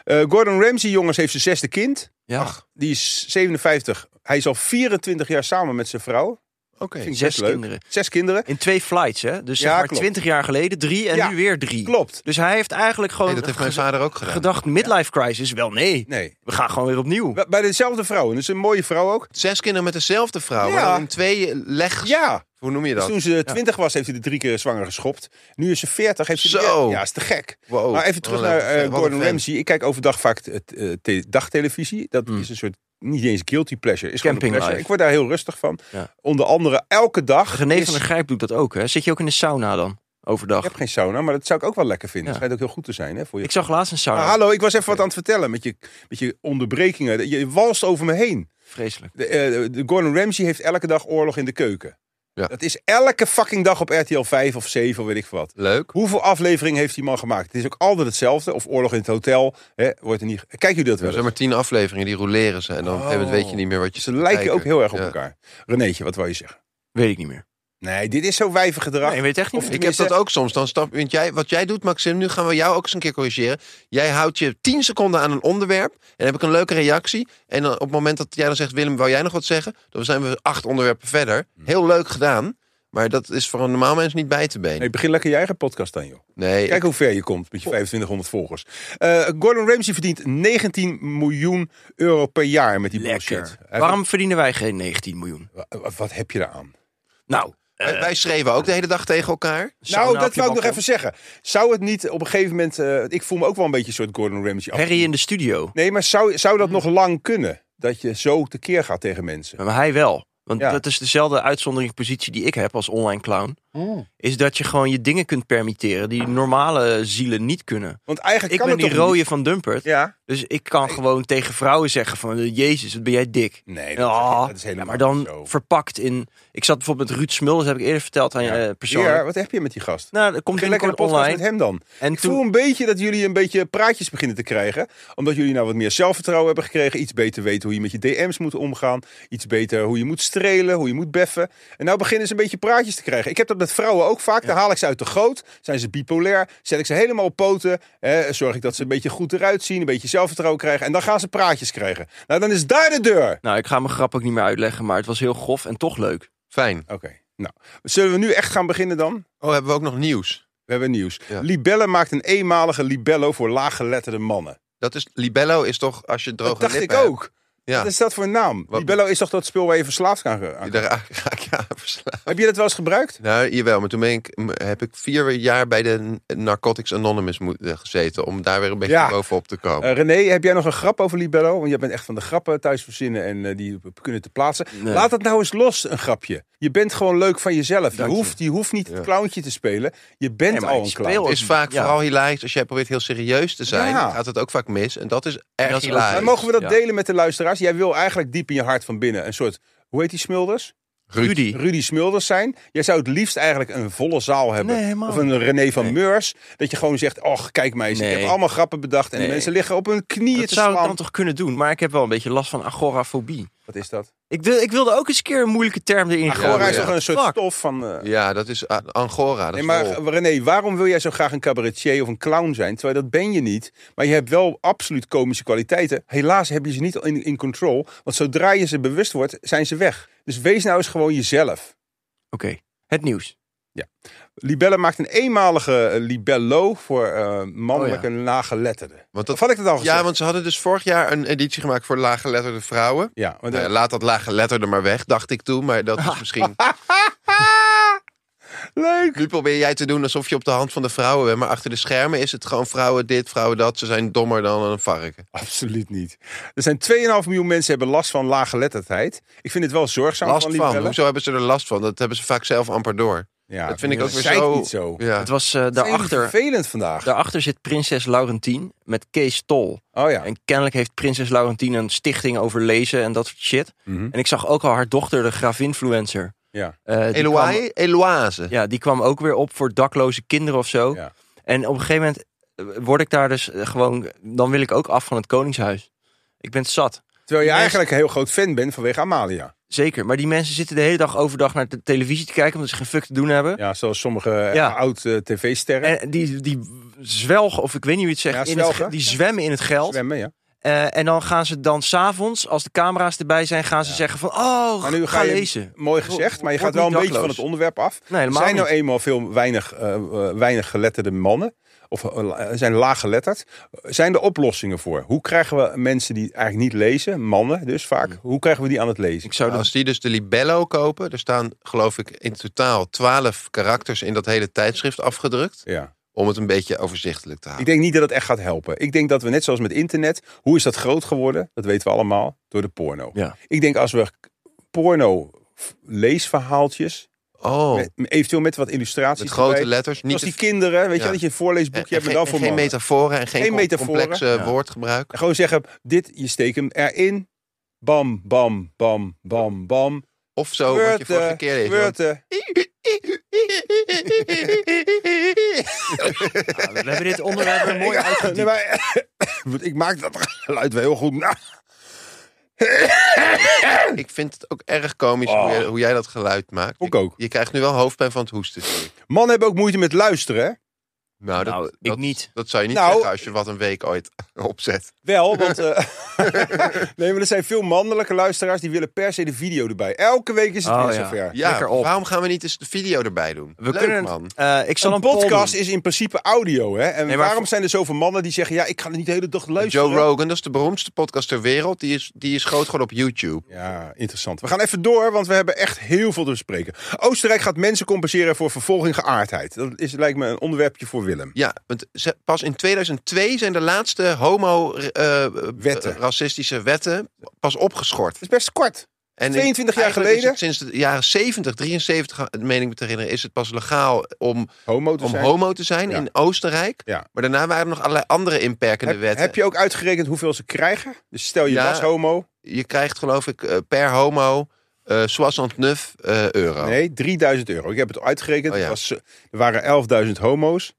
Speaker 1: Eh, Gordon Ramsay, jongens, heeft zijn zesde kind.
Speaker 2: Ja.
Speaker 1: Die is 57. Hij is al 24 jaar samen met zijn vrouw.
Speaker 3: Oké.
Speaker 1: Vind ik
Speaker 2: Zes
Speaker 1: best leuk.
Speaker 2: kinderen.
Speaker 1: Zes kinderen.
Speaker 2: In twee flights, hè? Dus
Speaker 1: Ja,
Speaker 2: zeg maar
Speaker 1: klopt.
Speaker 2: 20 jaar geleden drie en
Speaker 1: Ja,
Speaker 2: nu weer drie.
Speaker 1: Klopt.
Speaker 2: Dus hij heeft eigenlijk gewoon
Speaker 3: Nee, dat heeft
Speaker 2: ge-
Speaker 3: mijn vader ook gedaan.
Speaker 2: gedacht: midlife crisis. Wel nee.
Speaker 1: Nee.
Speaker 2: We gaan gewoon weer opnieuw.
Speaker 1: Bij- Bij dezelfde vrouw. En dat is een mooie vrouw ook.
Speaker 3: Zes kinderen met dezelfde vrouw.
Speaker 1: Ja.
Speaker 3: maar dan in twee legs.
Speaker 1: Ja.
Speaker 3: Hoe noem je
Speaker 1: Dus
Speaker 3: dat?
Speaker 1: toen ze 20 was, heeft hij er drie keer zwanger geschopt. Nu is ze 40. Heeft hij
Speaker 3: Zo.
Speaker 1: Ja, is te gek.
Speaker 3: Wow. Oh,
Speaker 1: maar even terug
Speaker 3: Wat een-
Speaker 1: naar
Speaker 3: wat
Speaker 1: eh,
Speaker 3: een
Speaker 1: Gordon
Speaker 3: vent.
Speaker 1: Ramsay. Ik kijk overdag vaak t- t- eh, te- dagtelevisie. Dat
Speaker 3: Hmm.
Speaker 1: is een soort, niet eens guilty pleasure. Is gewoon een
Speaker 2: Camping
Speaker 1: pleasure.
Speaker 2: life.
Speaker 1: Ik word daar heel rustig van.
Speaker 2: Ja.
Speaker 1: Onder andere elke dag.
Speaker 2: René
Speaker 1: is-
Speaker 2: van der Grijp doet dat ook, hè? Zit je ook in de sauna dan? Overdag.
Speaker 1: Ik heb geen sauna, maar dat zou ik ook wel lekker vinden.
Speaker 2: Ja.
Speaker 1: Het schijnt ook heel goed te zijn hè, voor je.
Speaker 2: Ik zag laatst een sauna.
Speaker 1: Ah, hallo, ik was even wat aan het vertellen met je, met je onderbrekingen. Je walst over me heen.
Speaker 2: Vreselijk.
Speaker 1: De, eh, de Gordon Ramsay heeft elke dag oorlog in de keuken.
Speaker 3: Ja.
Speaker 1: Dat is elke fucking dag op RTL 5 of 7 of weet ik veel wat.
Speaker 3: Leuk.
Speaker 1: Hoeveel afleveringen heeft die man gemaakt? Het is ook altijd hetzelfde. Of oorlog in het hotel. Hè, wordt er niet... Kijken jullie dat
Speaker 3: Er
Speaker 1: wel
Speaker 3: zijn
Speaker 1: eens?
Speaker 3: maar tien afleveringen, die roleren ze. En dan op een gegeven moment weet je niet meer wat je
Speaker 1: Oh. Ze lijken ook heel erg op
Speaker 3: Ja.
Speaker 1: elkaar. Renéetje, wat wil je zeggen?
Speaker 2: Weet ik niet meer.
Speaker 1: Nee, dit is zo wijvengedrag.
Speaker 2: Nee, ik weet het echt niet
Speaker 1: Of
Speaker 2: meer.
Speaker 3: Ik heb
Speaker 1: Tenminste-
Speaker 3: dat ook soms. Dan stap, want jij, wat jij doet, Maxim, nu gaan we jou ook eens een keer corrigeren. Jij houdt je 10 seconden aan een onderwerp. En dan heb ik een leuke reactie. En dan, op het moment dat jij dan zegt: Willem, wou jij nog wat zeggen? Dan zijn we acht onderwerpen verder.
Speaker 1: Hmm.
Speaker 3: Heel leuk gedaan. Maar dat is voor een normaal mens niet bij te benen.
Speaker 1: Nee, begin lekker je eigen podcast dan, joh.
Speaker 3: Nee,
Speaker 1: Kijk
Speaker 3: ik-
Speaker 1: hoe ver je komt met je 2500 volgers. Eh, Gordon Ramsay verdient 19 miljoen euro per jaar met die Oh, bullshit. Hij-
Speaker 2: Waarom verdienen wij geen 19 miljoen?
Speaker 1: wa- wa- Wat heb je daaraan?
Speaker 2: Nou,
Speaker 3: wij, wij schreven ook de hele dag tegen elkaar.
Speaker 1: Nou, dat wou ik nog even zeggen. Zou het niet op een gegeven moment... eh, ik voel me ook wel een beetje een soort Gordon Ramsay. af.
Speaker 2: Harry Hmm. in de studio.
Speaker 1: Nee, maar zou, zou dat nog lang kunnen? Dat je zo tekeer gaat tegen mensen?
Speaker 2: Maar hij wel. Want
Speaker 1: Ja.
Speaker 2: dat is dezelfde uitzonderingspositie die ik heb als online clown.
Speaker 1: Hmm.
Speaker 2: Is dat je gewoon je dingen kunt permitteren die normale zielen niet kunnen.
Speaker 1: Want eigenlijk
Speaker 2: Ik
Speaker 1: kan
Speaker 2: ben
Speaker 1: het
Speaker 2: die
Speaker 1: toch
Speaker 2: rode
Speaker 1: niet?
Speaker 2: van Dumpert.
Speaker 1: Ja.
Speaker 2: Dus ik kan gewoon tegen vrouwen zeggen van... eh, Jezus, wat ben jij dik. Ah.
Speaker 1: Nee, dat,
Speaker 2: Ja,
Speaker 1: dat is helemaal
Speaker 2: maar dan
Speaker 1: niet zo.
Speaker 2: verpakt in... Ik zat bijvoorbeeld met Ruud Smulders, heb ik eerder verteld aan je
Speaker 1: Ja.
Speaker 2: eh, persoonlijk.
Speaker 1: Ja, wat heb je met die gast?
Speaker 2: Nou, dat komt
Speaker 1: Begin lekker een
Speaker 2: binnenkort
Speaker 1: podcast
Speaker 2: online.
Speaker 1: met hem dan.
Speaker 2: En
Speaker 1: ik
Speaker 2: toen-
Speaker 1: voel een beetje dat jullie een beetje praatjes beginnen te krijgen. Omdat jullie nou wat meer zelfvertrouwen hebben gekregen. Iets beter weten hoe je met je DM's moet omgaan. Iets beter hoe je moet strelen, hoe je moet beffen. En nou beginnen ze een beetje praatjes te krijgen. Ik heb dat met vrouwen ook vaak. Dan haal ik ze uit de goot. Zijn ze bipolair. Zet ik ze helemaal op poten. Hè, zorg ik dat ze een beetje goed eruit zien. Een beetje zelfvertrouwen krijgen. En dan gaan ze praatjes krijgen. Nou, dan is daar de deur.
Speaker 2: Nou, ik ga mijn grap ook niet meer uitleggen, maar het was heel grof en toch leuk.
Speaker 3: Fijn.
Speaker 1: Oké. Nou, zullen we nu echt gaan beginnen dan?
Speaker 3: Oh, hebben we ook nog nieuws?
Speaker 1: We hebben nieuws.
Speaker 3: Ja.
Speaker 1: Libelle maakt een eenmalige libello voor laaggeletterde mannen.
Speaker 3: Dat is, libello is toch als je droge
Speaker 1: Dat dacht ik
Speaker 3: lippen hebt,
Speaker 1: ook.
Speaker 3: Ja.
Speaker 1: Wat is dat voor een naam?
Speaker 3: Wat-
Speaker 1: Libello is toch dat spul waar je verslaafd aan aan-
Speaker 3: je Daar raak je aan verslaafd.
Speaker 1: Heb je dat wel eens gebruikt?
Speaker 3: Nou, jawel, maar toen ben ik, m- heb ik vier jaar bij de Narcotics Anonymous moet- eh, gezeten. Om daar weer een beetje
Speaker 1: Ja.
Speaker 3: bovenop te
Speaker 2: Oh.
Speaker 3: komen.
Speaker 1: Eh, René, heb jij nog een grap over Libello? Want jij bent echt van de grappen thuis verzinnen en eh, die p- kunnen te plaatsen.
Speaker 2: Nee.
Speaker 1: Laat dat nou eens los, een grapje. Je bent gewoon leuk van jezelf. Je
Speaker 2: Dank je.
Speaker 1: hoeft, je hoeft niet
Speaker 3: Ja.
Speaker 1: het clowntje te spelen. Je bent
Speaker 2: Nee, maar
Speaker 1: al
Speaker 2: ik
Speaker 1: een
Speaker 2: speel
Speaker 1: clown.
Speaker 2: ook.
Speaker 3: is vaak
Speaker 2: Ja.
Speaker 3: vooral hilarisch. Als jij probeert heel serieus te zijn,
Speaker 1: Eh, Ja.
Speaker 3: gaat het ook vaak mis. En dat is erg
Speaker 2: Dat is ook-
Speaker 1: Maar
Speaker 3: hilarisch.
Speaker 1: mogen we dat
Speaker 2: Ja.
Speaker 1: delen met de luisteraars? Jij wil eigenlijk diep in je hart van binnen een soort... Hoe heet die Smulders?
Speaker 2: Rudy.
Speaker 1: Rudy Smulders zijn. Jij zou het liefst eigenlijk een volle zaal hebben.
Speaker 2: Nee, helemaal
Speaker 1: of een René van Meurs. Dat je gewoon zegt, och, kijk mij eens. Ik
Speaker 2: Nee.
Speaker 1: heb allemaal grappen bedacht. En de
Speaker 2: Nee.
Speaker 1: mensen liggen op hun knieën
Speaker 2: Dat
Speaker 1: te
Speaker 2: zou ik
Speaker 1: slaan.
Speaker 2: dan toch kunnen doen, maar ik heb wel een beetje last van agorafobie.
Speaker 1: Wat is dat?
Speaker 2: Ik, wil- ik wilde ook eens een keer een moeilijke term erin
Speaker 1: Agora
Speaker 2: gooien.
Speaker 1: is toch
Speaker 3: ja.
Speaker 1: een soort
Speaker 2: Fuck.
Speaker 1: stof van... eh,
Speaker 3: Ja, dat is ah, Angora. Dat
Speaker 1: Nee,
Speaker 3: is
Speaker 1: maar eh,
Speaker 3: lol.
Speaker 1: René, waarom wil jij zo graag een cabaretier of een clown zijn? Terwijl dat ben je niet. Maar je hebt wel absoluut komische kwaliteiten. Helaas heb je ze niet in, in control. Want zodra je ze bewust wordt, zijn ze weg. Dus wees nou eens gewoon jezelf.
Speaker 2: Oké, het nieuws.
Speaker 1: Libelle maakt een eenmalige eh, libello voor eh mannelijke
Speaker 2: Oh
Speaker 1: laaggeletterden.
Speaker 3: Want
Speaker 1: Of
Speaker 3: dat,
Speaker 1: had ik dat al gezegd?
Speaker 3: ja, want ze hadden dus vorig jaar een editie gemaakt voor laaggeletterde vrouwen.
Speaker 1: Ja, want,
Speaker 3: Nou ja, laat dat laaggeletterde maar weg, dacht ik toen. Maar dat is misschien...
Speaker 1: leuk!
Speaker 3: Nu probeer jij te doen alsof je op de hand van de vrouwen bent. Maar achter de schermen is het gewoon vrouwen dit, vrouwen dat. Ze zijn dommer dan een varken.
Speaker 1: Absoluut niet. Er zijn 2,5 miljoen mensen hebben last van laaggeletterdheid. Ik vind het wel zorgzaam
Speaker 3: Last
Speaker 1: van
Speaker 3: van.
Speaker 1: libellen.
Speaker 3: Hoezo hebben ze er last van? Dat hebben ze vaak zelf amper door.
Speaker 1: Ja,
Speaker 3: dat vind ik
Speaker 1: ja,
Speaker 3: ook weer
Speaker 1: zei ik
Speaker 3: zo...
Speaker 1: niet zo.
Speaker 3: Ja.
Speaker 2: Het was eh, daarachter,
Speaker 1: vervelend vandaag.
Speaker 2: daarachter zit prinses Laurentien met Kees Tol.
Speaker 1: Oh ja.
Speaker 2: En kennelijk heeft prinses Laurentien een stichting over lezen en dat soort shit.
Speaker 1: Mhm.
Speaker 2: En ik zag ook al haar dochter, de grafinfluencer.
Speaker 1: Ja.
Speaker 2: Eh, die kwam-
Speaker 3: Eloise? Eloise.
Speaker 2: Ja, die kwam ook weer op voor dakloze kinderen of zo.
Speaker 1: Ja.
Speaker 2: En op een gegeven moment eh, word ik daar dus eh, gewoon... Dan wil ik ook af van het Koningshuis. Ik ben het zat.
Speaker 1: Terwijl je
Speaker 2: Mensen-
Speaker 1: eigenlijk een heel groot fan bent vanwege Amalia.
Speaker 2: Zeker. Maar die mensen zitten de hele dag overdag naar de televisie te kijken... omdat ze geen fuck te doen hebben.
Speaker 1: Ja, zoals sommige eh,
Speaker 2: Ja.
Speaker 1: oud-tv-sterren
Speaker 2: En die, die zwelgen, of ik weet niet hoe je het zegt...
Speaker 1: Ja,
Speaker 2: in het, ge-
Speaker 1: zwelgen.
Speaker 2: die zwemmen in het geld.
Speaker 1: zwemmen, ja.
Speaker 2: Eh, en dan gaan ze dan s'avonds, als de camera's erbij zijn... gaan ze zeggen van, oh,
Speaker 1: Maar nu
Speaker 2: ga,
Speaker 1: ga je-
Speaker 2: lezen.
Speaker 1: Mooi gezegd, maar je gaat
Speaker 2: Word
Speaker 1: wel een
Speaker 2: niet
Speaker 1: beetje van
Speaker 2: dakloos.
Speaker 1: het onderwerp
Speaker 2: Nee,
Speaker 1: af. er
Speaker 2: helemaal
Speaker 1: zijn nou
Speaker 2: niet.
Speaker 1: eenmaal veel weinig, eh, eh, weinig geletterde mannen. Of eh, la- zijn laag geletterd. Zijn er oplossingen voor? Hoe krijgen we mensen die eigenlijk niet lezen, mannen dus vaak, hoe krijgen we die aan het lezen?
Speaker 2: Mm. Ik zou dat...
Speaker 3: Als die dus de libello kopen, er staan geloof ik in totaal twaalf karakters in dat hele tijdschrift afgedrukt.
Speaker 1: Ja.
Speaker 3: Om het een beetje overzichtelijk
Speaker 1: Ik
Speaker 3: te houden.
Speaker 1: denk niet dat het echt gaat helpen. Ik denk dat we net zoals met internet, hoe is dat groot geworden? Dat weten we allemaal door de porno.
Speaker 2: Ja.
Speaker 1: Ik denk als we porno f- leesverhaaltjes
Speaker 3: Oh,
Speaker 1: Met- eventueel met wat illustraties.
Speaker 3: met grote
Speaker 1: erbij.
Speaker 3: letters. Niet
Speaker 1: Zoals die kinderen, weet je,
Speaker 3: Ja.
Speaker 1: wel, dat je een
Speaker 3: en,
Speaker 1: voorleesboekje
Speaker 3: en
Speaker 1: hebt en dan
Speaker 3: geen,
Speaker 1: voor
Speaker 3: en geen
Speaker 1: mannen.
Speaker 3: metaforen en geen,
Speaker 1: Geen
Speaker 3: com-
Speaker 1: metaforen,
Speaker 3: complex eh,
Speaker 2: ja.
Speaker 3: woordgebruik.
Speaker 1: En gewoon zeggen, dit, je steekt hem erin. Bam, bam, bam, bam, bam.
Speaker 3: Of zo, Oh, wat
Speaker 1: eh,
Speaker 3: je vorige keer deed.
Speaker 1: Beurten. eh,
Speaker 2: Ja, we hebben dit onderwerp weer mooi uitgediept.
Speaker 1: Nee, maar, want ik maak dat geluid wel heel goed Nou, na.
Speaker 3: Ik vind het ook erg komisch
Speaker 1: Oh.
Speaker 3: hoe, jij, hoe jij dat geluid maakt.
Speaker 1: Ik ook.
Speaker 3: Je krijgt nu wel hoofdpijn van het hoesten. zie ik.
Speaker 1: Mannen hebben ook moeite met luisteren, hè?
Speaker 3: Nou, dat,
Speaker 2: Nou, ik
Speaker 3: dat,
Speaker 2: niet.
Speaker 3: dat zou je niet
Speaker 1: Nou.
Speaker 3: zeggen als je wat een week ooit opzet.
Speaker 1: Wel, want... eh, nee, maar er zijn veel mannelijke luisteraars die willen per se de video erbij. Elke week is het
Speaker 2: Oh,
Speaker 1: weer
Speaker 2: ja.
Speaker 1: zover.
Speaker 3: Ja,
Speaker 2: Lekker op.
Speaker 3: waarom gaan we niet eens de video erbij doen?
Speaker 2: We
Speaker 3: Leuk,
Speaker 2: kunnen,
Speaker 3: man.
Speaker 2: eh, ik zal
Speaker 1: Een
Speaker 2: een, poll
Speaker 1: podcast
Speaker 2: doen.
Speaker 1: is in principe audio, hè? En
Speaker 2: Nee, maar
Speaker 1: waarom
Speaker 2: voor-
Speaker 1: zijn er zoveel mannen die zeggen... Ja, ik ga niet de hele dag luisteren.
Speaker 3: Joe Rogan, dat is de beroemdste podcast ter wereld. Die is, die is groot geworden op YouTube.
Speaker 1: Ja, interessant. We gaan even door, want we hebben echt heel veel te bespreken. Oostenrijk gaat mensen compenseren voor vervolging geaardheid. Dat is, lijkt me een onderwerpje voor Willem.
Speaker 3: Ja, want ze- pas in 2002 zijn de laatste
Speaker 1: Wetten.
Speaker 3: homo-racistische wetten pas opgeschort.
Speaker 1: Dat is best kort.
Speaker 3: En in-
Speaker 1: 22 jaar
Speaker 3: eigenlijk is
Speaker 1: geleden?
Speaker 3: het sinds de jaren 70, 73, meen ik me te herinneren, is het pas legaal om,
Speaker 1: Homo te
Speaker 3: om
Speaker 1: zijn.
Speaker 3: homo te zijn
Speaker 1: Ja.
Speaker 3: in Oostenrijk.
Speaker 1: Ja.
Speaker 3: Maar daarna waren er nog allerlei andere inperkende
Speaker 1: heb,
Speaker 3: wetten.
Speaker 1: heb je ook uitgerekend hoeveel ze krijgen? Dus stel je
Speaker 3: Ja.
Speaker 1: was homo.
Speaker 3: Je krijgt geloof ik eh, per homo eh 69 eh, euro.
Speaker 1: Nee, 3000 euro. Ik heb het uitgerekend.
Speaker 3: Oh, ja.
Speaker 1: Het was, eh, er waren 11.000 homo's.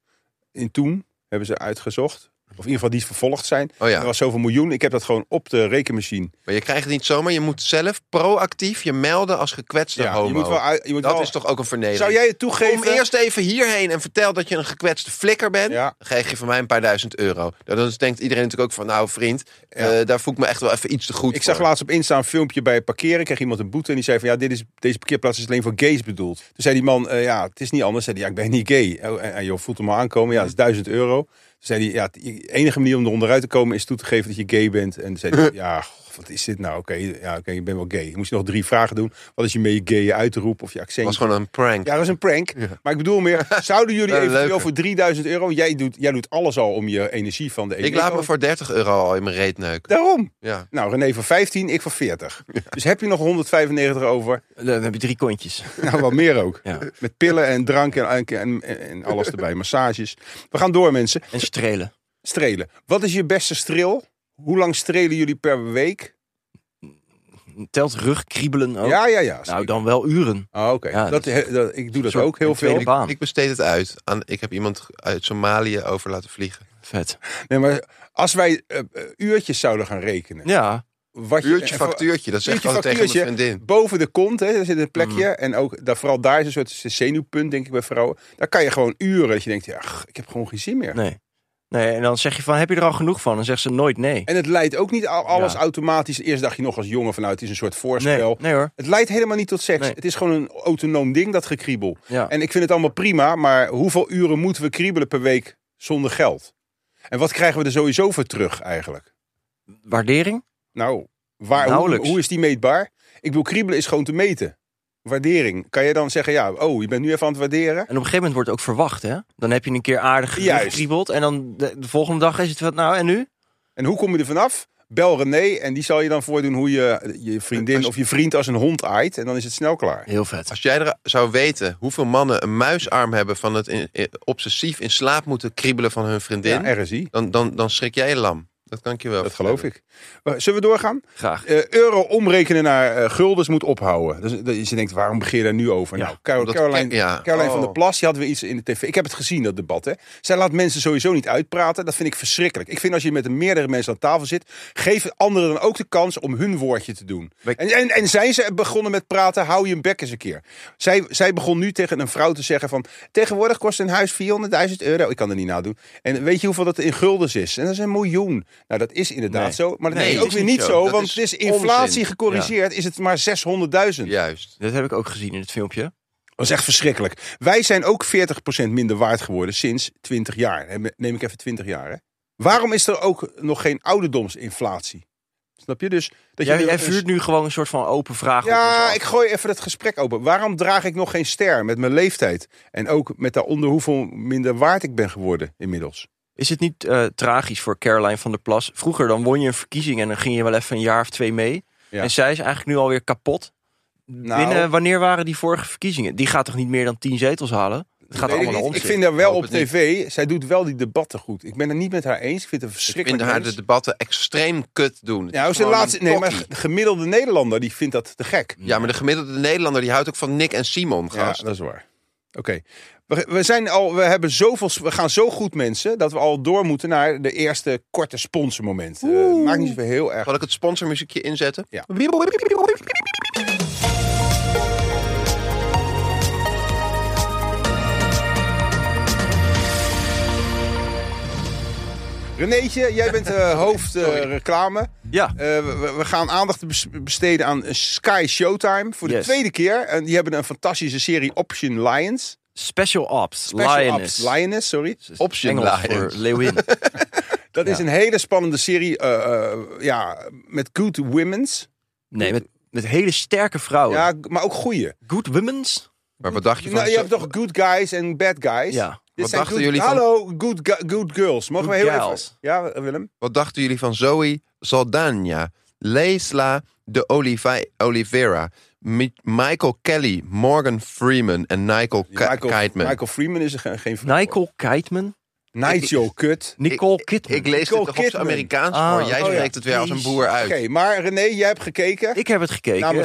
Speaker 1: In toen hebben ze uitgezocht. Of in ieder geval die vervolgd zijn.
Speaker 3: Oh ja,
Speaker 1: Er was zoveel miljoen. Ik heb dat gewoon op de rekenmachine.
Speaker 3: maar je krijgt het niet zomaar. Je moet zelf proactief je melden als gekwetste homo.
Speaker 1: je moet wel... uit- Je moet
Speaker 3: Dat
Speaker 1: wel-
Speaker 3: is toch ook een vernedering.
Speaker 1: Zou jij het toegeven?
Speaker 3: Kom eerst even hierheen en vertel dat je een gekwetste flikker bent.
Speaker 1: Ja.
Speaker 3: Dan krijg je van mij een paar duizend euro. Nou, dan denkt iedereen natuurlijk ook van, nou vriend,
Speaker 1: Ja.
Speaker 3: eh, daar voel ik me echt wel even iets te goed
Speaker 1: Ik
Speaker 3: voor.
Speaker 1: zag laatst op Insta een filmpje bij parkeren. Kreeg iemand een boete en die zei van ja, dit is, deze parkeerplaats is alleen voor gays bedoeld. Toen zei die man, eh, ja, het is niet anders. Zei die, ja, ik ben niet gay. Oh, en, en joh, voelt hem al aankomen. Ja, dat is 1000 euro. Toen zei hij, ja, de enige manier om eronder uit te komen is toe te geven dat je gay bent. En toen zei hij, ja, goh, wat is dit nou? Oké, ja, oké, je bent wel gay. Moest je nog drie vragen doen. Wat is je mee gay je uitroep of je accent?
Speaker 3: was gewoon een prank.
Speaker 1: Ja, dat is een prank. Maar ik bedoel meer, zouden jullie
Speaker 3: Ja,
Speaker 1: eventueel
Speaker 3: leuke.
Speaker 1: voor 3000 euro, jij doet, jij doet alles al om je energie van de ene
Speaker 3: ik laat
Speaker 1: kant-
Speaker 3: me voor 30 euro al in mijn reet neuken.
Speaker 1: Daarom.
Speaker 3: Ja.
Speaker 1: Nou, René voor 15, ik voor 40. Dus heb je nog 195 over?
Speaker 2: Eh, Dan heb je drie kontjes.
Speaker 1: Nou, wat meer ook.
Speaker 2: Ja.
Speaker 1: Met pillen en drank en, en, en alles erbij. Massages. We gaan door, mensen.
Speaker 2: En strelen.
Speaker 1: Strelen. Wat is je beste streel? Hoe lang strelen jullie per week?
Speaker 2: Telt rugkriebelen ook?
Speaker 1: Ja, ja, ja.
Speaker 2: nou, dan wel uren.
Speaker 1: Ah, Oké,
Speaker 2: Ja,
Speaker 1: dat,
Speaker 2: dat-
Speaker 1: he- dat- ik doe dat
Speaker 2: soort-
Speaker 1: ook heel
Speaker 2: een tweede
Speaker 1: veel.
Speaker 2: Ik- baan.
Speaker 3: Ik besteed het uit. Aan, ik heb iemand uit Somalië over laten vliegen.
Speaker 2: Vet.
Speaker 1: Nee, maar als wij eh, eh, uurtjes zouden gaan rekenen.
Speaker 2: Ja.
Speaker 1: Wat je-
Speaker 3: Uurtje
Speaker 1: en voor-
Speaker 3: factuurtje, dat zeg ik
Speaker 1: Uurtje
Speaker 3: gewoon tegen mijn
Speaker 1: factuurtje.
Speaker 3: vriendin.
Speaker 1: Boven de kont, hè, daar zit een plekje. En ook daar, vooral daar is een soort zenuwpunt, denk ik, bij vrouwen. Daar kan je gewoon uren. Dat je denkt, ja, ach, ik heb gewoon geen zin meer.
Speaker 2: Nee. Nee, en dan zeg je van, heb je er al genoeg van? Dan zegt ze nooit nee.
Speaker 1: En het leidt ook niet al- alles
Speaker 2: Ja.
Speaker 1: automatisch. Eerst dacht je nog als jongen vanuit, het is een soort voorspel.
Speaker 2: Nee, nee hoor.
Speaker 1: Het leidt helemaal niet tot seks.
Speaker 2: Nee.
Speaker 1: Het is gewoon een autonoom ding, dat gekriebel.
Speaker 2: Ja.
Speaker 1: En ik vind het allemaal prima, maar hoeveel uren moeten we kriebelen per week zonder geld? En wat krijgen we er sowieso voor terug eigenlijk?
Speaker 2: Waardering?
Speaker 1: Nou, waar, hoe,
Speaker 2: Nauwelijks.
Speaker 1: hoe is die meetbaar? Ik bedoel, kriebelen is gewoon te meten. Waardering. Kan je dan zeggen, ja, oh, je bent nu even aan het waarderen?
Speaker 2: En op een gegeven moment wordt het ook verwacht, hè? Dan heb je een keer aardig
Speaker 1: Juist.
Speaker 2: gekriebeld. En dan de, de volgende dag is het wat, nou en nu?
Speaker 1: En hoe kom je er vanaf? Bel René en die zal je dan voordoen hoe je eh, je vriendin
Speaker 3: Als-
Speaker 1: of je vriend als een hond aait. En dan is het snel klaar.
Speaker 2: Heel vet.
Speaker 3: Als jij er zou weten hoeveel mannen een muisarm hebben van het in- in- obsessief in slaap moeten kriebelen van hun vriendin,
Speaker 1: Ja, RSI.
Speaker 3: dan, dan, dan schrik jij je lam. Dat kan ik je wel
Speaker 1: Dat geloof
Speaker 3: vertellen.
Speaker 1: ik. Maar Zullen we doorgaan?
Speaker 2: Graag.
Speaker 1: Eh, euro omrekenen naar eh, guldens moet ophouden. Dus, dat je denkt, waarom begin je daar nu over?
Speaker 2: Ja,
Speaker 1: nou, Carol-
Speaker 3: omdat-
Speaker 1: Caroline,
Speaker 3: ja.
Speaker 1: Caroline van
Speaker 3: Oh.
Speaker 1: der Plas, die hadden we iets in de tv. Ik heb het gezien, dat debat. Hè. Zij laat mensen sowieso niet uitpraten. Dat vind ik verschrikkelijk. Ik vind als je met een meerdere mensen aan tafel zit, geef anderen dan ook de kans om hun woordje te doen.
Speaker 2: Wij-
Speaker 1: En, en, en zijn ze begonnen met praten, hou je een bek eens een keer. Zij, zij begon nu tegen een vrouw te zeggen van, tegenwoordig kost een huis 400.000 euro. Ik kan er niet nadoen. En weet je hoeveel dat in guldens is? En dat is een miljoen. Nou, dat is inderdaad
Speaker 2: Nee.
Speaker 1: zo. Maar dat
Speaker 3: Nee,
Speaker 1: is ook
Speaker 3: is
Speaker 1: weer
Speaker 3: niet
Speaker 1: niet
Speaker 3: zo.
Speaker 1: zo,
Speaker 3: Dat
Speaker 1: want
Speaker 3: is
Speaker 1: het is inflatie
Speaker 3: onzin.
Speaker 1: gecorrigeerd, is het maar 600.000.
Speaker 3: Juist.
Speaker 2: Dat heb ik ook gezien in het filmpje.
Speaker 1: Dat is echt verschrikkelijk. Wij zijn ook 40% minder waard geworden sinds 20 jaar. Hè, Neem ik even 20 jaar. Hè? Waarom is er ook nog geen ouderdomsinflatie? Snap je dus? Dat
Speaker 2: Jij,
Speaker 1: je
Speaker 2: jij vuurt nu gewoon een soort van open vraag op ons
Speaker 1: Ja,
Speaker 2: af.
Speaker 1: ik gooi even het gesprek open. Waarom draag ik nog geen ster met mijn leeftijd? En ook met daaronder hoeveel minder waard ik ben geworden inmiddels.
Speaker 2: Is het niet eh, tragisch voor Caroline van der Plas? Vroeger dan won je een verkiezing en dan ging je wel even een jaar of twee mee.
Speaker 1: Ja.
Speaker 2: En zij is eigenlijk nu alweer kapot.
Speaker 1: Nou.
Speaker 2: Binnen, eh, wanneer waren die vorige verkiezingen? Die gaat toch niet meer dan 10 zetels halen? Het gaat
Speaker 1: Weet ik
Speaker 2: allemaal naar ons.
Speaker 1: niet. Ik vind haar wel
Speaker 3: Ik hoop
Speaker 1: op
Speaker 3: het niet.
Speaker 1: tv, zij doet wel die debatten goed. Ik ben het niet met haar eens. Ik vind het
Speaker 3: Dus Ik
Speaker 1: verschrikkelijk.
Speaker 3: vind haar de
Speaker 1: eens.
Speaker 3: debatten extreem kut doen. Het
Speaker 1: nou,
Speaker 3: is
Speaker 1: ze
Speaker 3: gewoon
Speaker 1: laatste,
Speaker 3: een
Speaker 1: nee, maar
Speaker 3: tokkie.
Speaker 1: de gemiddelde Nederlander die vindt dat te gek.
Speaker 3: Ja, maar de gemiddelde Nederlander die houdt ook van Nick en Simon,
Speaker 1: Ja,
Speaker 3: gast.
Speaker 1: dat is waar. Oké. We, we, zijn al, we, hebben zoveel, s- we gaan zo goed, mensen, dat we al door moeten naar de eerste korte sponsormoment. Eh maakt niet zoveel heel erg.
Speaker 3: Zal ik het sponsormuziekje inzetten?
Speaker 1: Ja. Renéetje, jij bent eh, hoofd eh, reclame.
Speaker 2: Ja,
Speaker 1: Eh, we, we gaan aandacht bes- besteden aan Sky Showtime voor de
Speaker 2: Yes.
Speaker 1: tweede keer. En die hebben een fantastische serie Option Lions.
Speaker 2: Special Ops,
Speaker 1: Special
Speaker 2: Lioness.
Speaker 1: Ops Lioness, sorry.
Speaker 2: Dat is
Speaker 3: Option
Speaker 2: Engels
Speaker 3: Lions.
Speaker 2: voor Leeuwin.
Speaker 1: Dat is
Speaker 2: Ja.
Speaker 1: een hele spannende serie eh, eh, ja, met good women's.
Speaker 2: Nee, met, met hele sterke vrouwen.
Speaker 1: Ja, maar ook goeie.
Speaker 2: Good women's?
Speaker 3: Maar wat dacht je van...
Speaker 1: Nou, je hebt toch good guys en bad guys?
Speaker 2: Ja.
Speaker 1: Dit
Speaker 3: Wat
Speaker 1: zijn
Speaker 3: dachten
Speaker 1: good-
Speaker 3: jullie van-
Speaker 1: Hallo, good, gu- good girls. Mogen
Speaker 2: Good
Speaker 1: we heel
Speaker 2: girls.
Speaker 1: even... Ja, Willem?
Speaker 3: Wat dachten jullie van Zoe Saldana, Leesla de Olivi- Oliveira, Mi- Michael Kelly, Morgan Freeman en Nigel Ka-
Speaker 1: Michael,
Speaker 3: Keitman?
Speaker 1: Michael Freeman is er geen... geen
Speaker 2: Nicole Kidman?
Speaker 1: Nigel, kut.
Speaker 2: Nicole
Speaker 3: Ik-
Speaker 2: Kidman.
Speaker 3: Ik lees
Speaker 1: Nicole
Speaker 3: dit toch op
Speaker 1: Kidman.
Speaker 3: het Amerikaans
Speaker 2: Ah,
Speaker 3: voor. Jij
Speaker 2: oh ja.
Speaker 3: spreekt het weer als een boer uit.
Speaker 1: Oké, maar René, jij hebt gekeken.
Speaker 2: Ik heb het
Speaker 1: Namens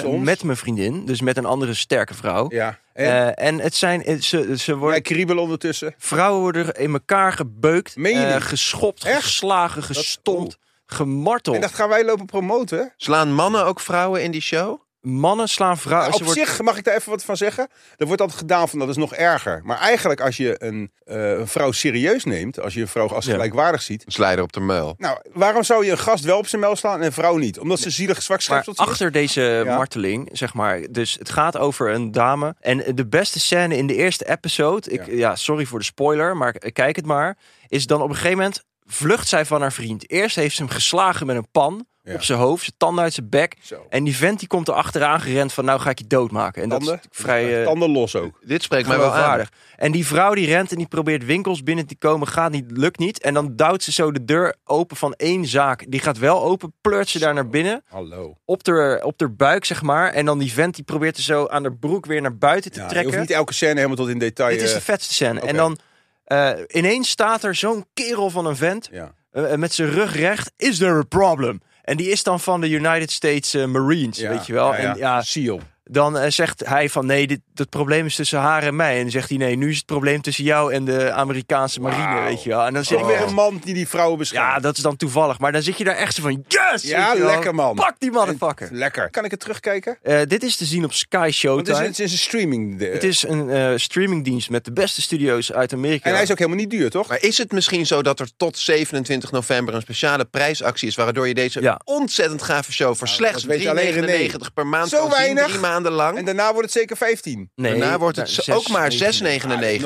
Speaker 2: gekeken
Speaker 1: ons.
Speaker 2: met mijn vriendin, dus met een andere sterke vrouw.
Speaker 1: Ja. En
Speaker 2: Eh, Oh. en het zijn, eh, ze, ze worden,
Speaker 1: jij kriebel ondertussen.
Speaker 2: vrouwen worden in elkaar gebeukt,
Speaker 1: Meen je
Speaker 2: eh,
Speaker 1: niet?
Speaker 2: geschopt,
Speaker 1: Echt? Oh.
Speaker 2: geslagen, gestompt, gemarteld.
Speaker 1: En dat gaan wij lopen promoten.
Speaker 2: Nou,
Speaker 3: Slaan mannen ook vrouwen in die show?
Speaker 2: Mannen slaan vrouwen.
Speaker 1: Nou, op
Speaker 2: ze wordt-
Speaker 1: zich mag ik daar even wat van zeggen. Er wordt altijd gedaan van dat is nog erger. Maar eigenlijk als je een, eh, een vrouw serieus neemt, als je een vrouw als
Speaker 2: Ja.
Speaker 1: gelijkwaardig ziet.
Speaker 3: Een Slijder op de muil.
Speaker 1: Nou, waarom zou je een gast wel op zijn mel slaan en een vrouw niet? Omdat ze zielig zwak
Speaker 2: Maar
Speaker 1: schepseltje is?
Speaker 2: achter deze
Speaker 1: Ja.
Speaker 2: marteling, zeg maar. Dus het gaat over een dame. En de beste scène in de eerste episode. Ik,
Speaker 1: Ja.
Speaker 2: ja. sorry voor de spoiler, maar k- kijk het maar. Is dan op een gegeven moment vlucht zij van haar vriend. Eerst heeft ze hem geslagen met een pan
Speaker 1: Ja.
Speaker 2: op zijn hoofd, zijn tanden uit zijn bek.
Speaker 1: Zo.
Speaker 2: En die vent die komt er achteraan gerend van nou ga ik je doodmaken. En
Speaker 1: Tanden,
Speaker 2: dat is vrij eh,
Speaker 1: tanden los ook.
Speaker 3: Dit spreekt mij wel aan.
Speaker 2: geloofwaardig. En die vrouw die rent en die probeert winkels binnen te komen, gaat niet, lukt niet. En dan duwt ze zo de deur open van één zaak. Die gaat wel open, pleurt ze daar naar binnen
Speaker 1: Hallo.
Speaker 2: op haar, op haar buik, zeg maar. En dan die vent die probeert er zo aan haar broek weer naar buiten te
Speaker 1: Ja, je hoeft
Speaker 2: trekken.
Speaker 1: niet elke scène helemaal tot in detail.
Speaker 2: Dit is
Speaker 1: eh,
Speaker 2: de vetste scène.
Speaker 1: oké.
Speaker 2: En dan eh, ineens staat er zo'n kerel van een vent
Speaker 1: ja.
Speaker 2: eh, met zijn rug recht. Is there a problem? En die is dan van de United States eh, Marines,
Speaker 1: Ja,
Speaker 2: weet je wel.
Speaker 1: ja,
Speaker 2: En ja,
Speaker 1: Seal.
Speaker 2: dan eh, zegt hij van nee, dit, dat probleem is tussen haar en mij. En dan zegt hij nee, nu is het probleem tussen jou en de Amerikaanse marine,
Speaker 1: Wauw. Oh.
Speaker 2: weet je wel. En dan zit
Speaker 1: Ik
Speaker 2: ik
Speaker 1: ben
Speaker 2: weer
Speaker 1: een man die die vrouwen
Speaker 2: ja,
Speaker 1: beschermt.
Speaker 2: dat is dan toevallig. Maar dan zit je daar echt zo van yes!
Speaker 1: Ja,
Speaker 2: weet je wel.
Speaker 1: lekker, man.
Speaker 2: Pak die motherfucker.
Speaker 1: Lekker. Kan ik het terugkijken?
Speaker 2: Eh, dit is te zien op Sky
Speaker 1: Want het is,
Speaker 2: Showtime.
Speaker 1: het is een streaming. eh,
Speaker 2: Het is een eh, streamingdienst met de beste studio's uit Amerika.
Speaker 1: en hij is ook helemaal niet duur, toch?
Speaker 3: Maar is het misschien zo dat er tot 27 november een speciale prijsactie is... waardoor je deze
Speaker 2: Ja.
Speaker 3: ontzettend gave show voor slechts 3,99
Speaker 1: Nou, weet alleen René.
Speaker 3: per maand
Speaker 1: Zo
Speaker 3: kan zien,
Speaker 1: weinig.
Speaker 3: drie maanden lang...
Speaker 1: En daarna wordt het zeker 15.
Speaker 2: nee,
Speaker 3: Daarna wordt het
Speaker 2: nou,
Speaker 3: zo- ook maar 6,99.
Speaker 2: zes-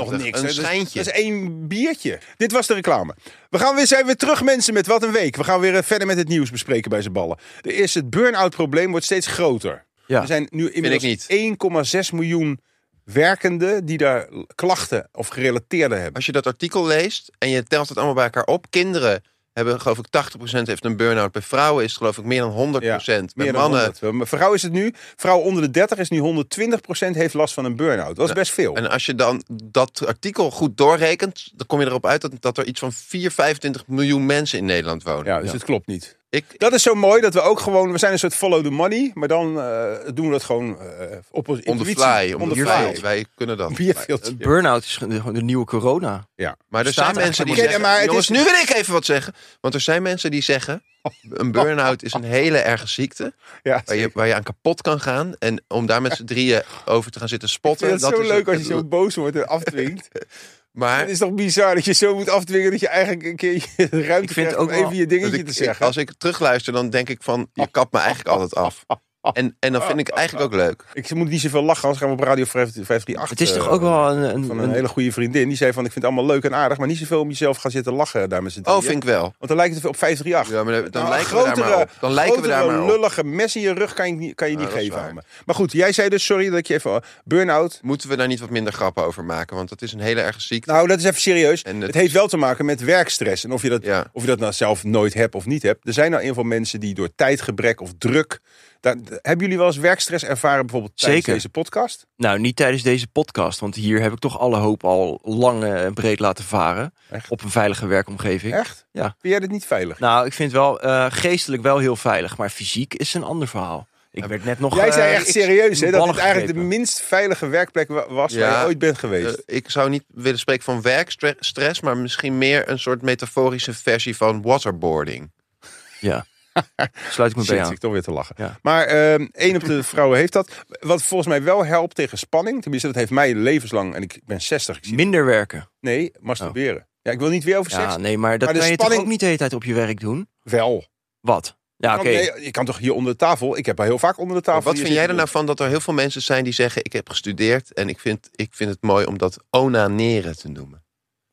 Speaker 1: Ah, nog niks. hè. dus-
Speaker 3: Een
Speaker 1: Dat is-
Speaker 3: schijntje.
Speaker 1: Dat is één biertje. Dit was de reclame. We gaan weer, zijn weer terug, mensen, met wat een week. We gaan weer eh, verder met het nieuws bespreken bij z'n ballen. De eerste, het burn-out probleem wordt steeds groter.
Speaker 2: Ja.
Speaker 1: Er zijn nu inmiddels
Speaker 3: niet.
Speaker 1: 1,6 miljoen werkenden die daar klachten of gerelateerde hebben.
Speaker 3: als je dat artikel leest en je telt het allemaal bij elkaar op. Kinderen hebben geloof ik 80% heeft een burn-out. Bij vrouwen is het geloof ik meer dan 100%. bij
Speaker 1: meer dan
Speaker 3: mannen.
Speaker 1: 100. Maar Vrouw is het nu. Vrouw onder de 30 is nu 120 heeft last van een burn-out. Dat is best veel.
Speaker 3: En als je dan dat artikel goed doorrekent, dan kom je erop uit dat, dat er iets van 4, 25 miljoen mensen in Nederland wonen.
Speaker 1: Ja, dus het klopt niet.
Speaker 3: Ik,
Speaker 1: Dat is zo mooi dat we ook gewoon, we zijn een soort follow the money, maar dan eh, doen we dat gewoon eh, op ons
Speaker 3: on the
Speaker 1: intuïtie,
Speaker 3: fly, on
Speaker 1: on
Speaker 3: the
Speaker 1: the
Speaker 3: fly.
Speaker 1: fly.
Speaker 3: Wij kunnen dat.
Speaker 1: Bierveeltje.
Speaker 2: Burnout is de, de nieuwe corona.
Speaker 1: Ja.
Speaker 3: Maar er
Speaker 2: Staat
Speaker 3: zijn
Speaker 2: er
Speaker 3: mensen die
Speaker 1: eigenlijk
Speaker 3: zeggen...
Speaker 1: niet.
Speaker 3: jongens,
Speaker 1: Maar het Oh,
Speaker 3: nu wil ik even wat zeggen. Want er zijn mensen die zeggen... Een burn-out is een hele erge ziekte.
Speaker 1: ja.
Speaker 3: Waar je, waar je aan kapot kan gaan. En om daar met z'n drieën over te gaan zitten
Speaker 1: Ik
Speaker 3: spotten.
Speaker 1: vind het zo
Speaker 3: is
Speaker 1: leuk
Speaker 3: een-
Speaker 1: als je zo boos wordt en afdwingt.
Speaker 3: Maar
Speaker 1: het is toch bizar dat je zo moet afdwingen dat je eigenlijk een keer je ruimte
Speaker 2: Ik vind
Speaker 1: krijgt
Speaker 2: ook
Speaker 1: om even
Speaker 2: wel-
Speaker 1: je dingetje
Speaker 3: Want ik-
Speaker 1: te
Speaker 3: ik-
Speaker 1: zeggen.
Speaker 3: als ik terugluister, dan denk ik van, je kapt me eigenlijk altijd af. En, en dat vind ik eigenlijk ook leuk.
Speaker 1: Ik moet niet zoveel lachen, anders gaan we op Radio 538.
Speaker 2: Het is toch
Speaker 1: eh,
Speaker 2: ook wel een, een,
Speaker 1: Van een
Speaker 2: een-
Speaker 1: hele goede vriendin. Die zei van, ik vind het allemaal leuk en aardig, maar niet zoveel om jezelf gaan zitten lachen daar met z'n drieën.
Speaker 3: Oh, vind ik wel.
Speaker 1: Want dan lijkt het op 538.
Speaker 3: Ja, maar dan, dan
Speaker 1: Nou,
Speaker 3: lijken
Speaker 1: een
Speaker 3: we daar maar op. Dan lijken we daar
Speaker 1: grotere,
Speaker 3: maar op.
Speaker 1: lullige mes in je rug kan je niet, kan je
Speaker 3: Ja,
Speaker 1: niet
Speaker 3: dat is
Speaker 1: geven
Speaker 3: waar.
Speaker 1: aan me. Maar goed, jij zei dus, sorry dat ik je even... Burn-out.
Speaker 3: Moeten we daar niet wat minder grappen over maken? Want dat is een hele erge ziekte.
Speaker 1: Nou, dat is even serieus.
Speaker 3: En
Speaker 1: het,
Speaker 3: het
Speaker 1: heeft
Speaker 3: is-
Speaker 1: wel te maken met werkstress. En of je, dat,
Speaker 3: Ja.
Speaker 1: of je dat nou zelf nooit hebt of niet hebt. Er zijn nou in ieder geval mensen die door tijdgebrek of druk... Daar, hebben jullie wel eens werkstress ervaren bijvoorbeeld tijdens
Speaker 2: Zeker.
Speaker 1: deze podcast?
Speaker 2: Nou, niet tijdens deze podcast, want hier heb ik toch alle hoop al lang eh, en breed laten varen.
Speaker 1: Echt?
Speaker 2: Op een veilige werkomgeving.
Speaker 1: Echt?
Speaker 2: Ja.
Speaker 1: Vind jij dit niet veilig?
Speaker 2: Nou, ik vind wel eh, geestelijk wel heel veilig, maar fysiek is een ander verhaal. Ik werd net nog.
Speaker 1: Jij
Speaker 2: eh,
Speaker 1: zei echt
Speaker 2: ik-
Speaker 1: serieus hè, dat
Speaker 2: ballen
Speaker 1: het eigenlijk de
Speaker 2: gegrepen.
Speaker 1: minst veilige werkplek wa- was waar
Speaker 3: Ja.
Speaker 1: je ooit bent geweest.
Speaker 3: Eh, ik zou niet willen spreken van werkstress, maar misschien meer een soort metaforische versie van waterboarding.
Speaker 2: Ja. Sluit ik me
Speaker 1: Shit,
Speaker 2: bij
Speaker 1: zit
Speaker 2: aan.
Speaker 1: ik toch weer te lachen.
Speaker 2: Ja.
Speaker 1: Maar ehm één op de vrouwen heeft dat. Wat volgens mij wel helpt tegen spanning. Tenminste, dat heeft mij levenslang. En ik ben 60. Ik zie,
Speaker 2: Minder werken.
Speaker 1: nee,
Speaker 3: Oh.
Speaker 1: masturberen. Ja, ik wil niet weer over seks.
Speaker 2: Ja, nee, maar dat
Speaker 1: Maar de
Speaker 2: kan je toch
Speaker 1: spanning-
Speaker 2: ook niet de hele tijd op je werk doen?
Speaker 1: Wel.
Speaker 2: Wat? Ja, oké.
Speaker 1: Kan- nee, je kan toch hier onder de tafel. Ik heb al heel vaak onder de tafel.
Speaker 3: Ah, Wat
Speaker 1: hier
Speaker 3: vind jij er
Speaker 1: zitten.
Speaker 3: nou van dat er heel veel mensen zijn die zeggen: Ik heb gestudeerd en ik vind, ik vind het mooi om dat onaneren te noemen?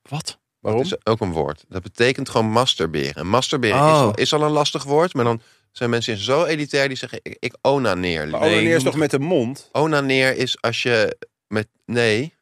Speaker 2: Wat?
Speaker 1: Waarom?
Speaker 3: Dat is ook een woord. Dat betekent gewoon masturberen. En masturberen
Speaker 2: Oh.
Speaker 3: is, al, is al een lastig woord, maar dan zijn mensen zo elitair die zeggen: Ik, ik onaneer.
Speaker 1: Maar
Speaker 3: liever."
Speaker 2: Nee,
Speaker 1: onaneer
Speaker 2: ik
Speaker 1: Nou, is
Speaker 2: noem
Speaker 1: toch met de mond?
Speaker 3: Onaneer is als je met. Nee,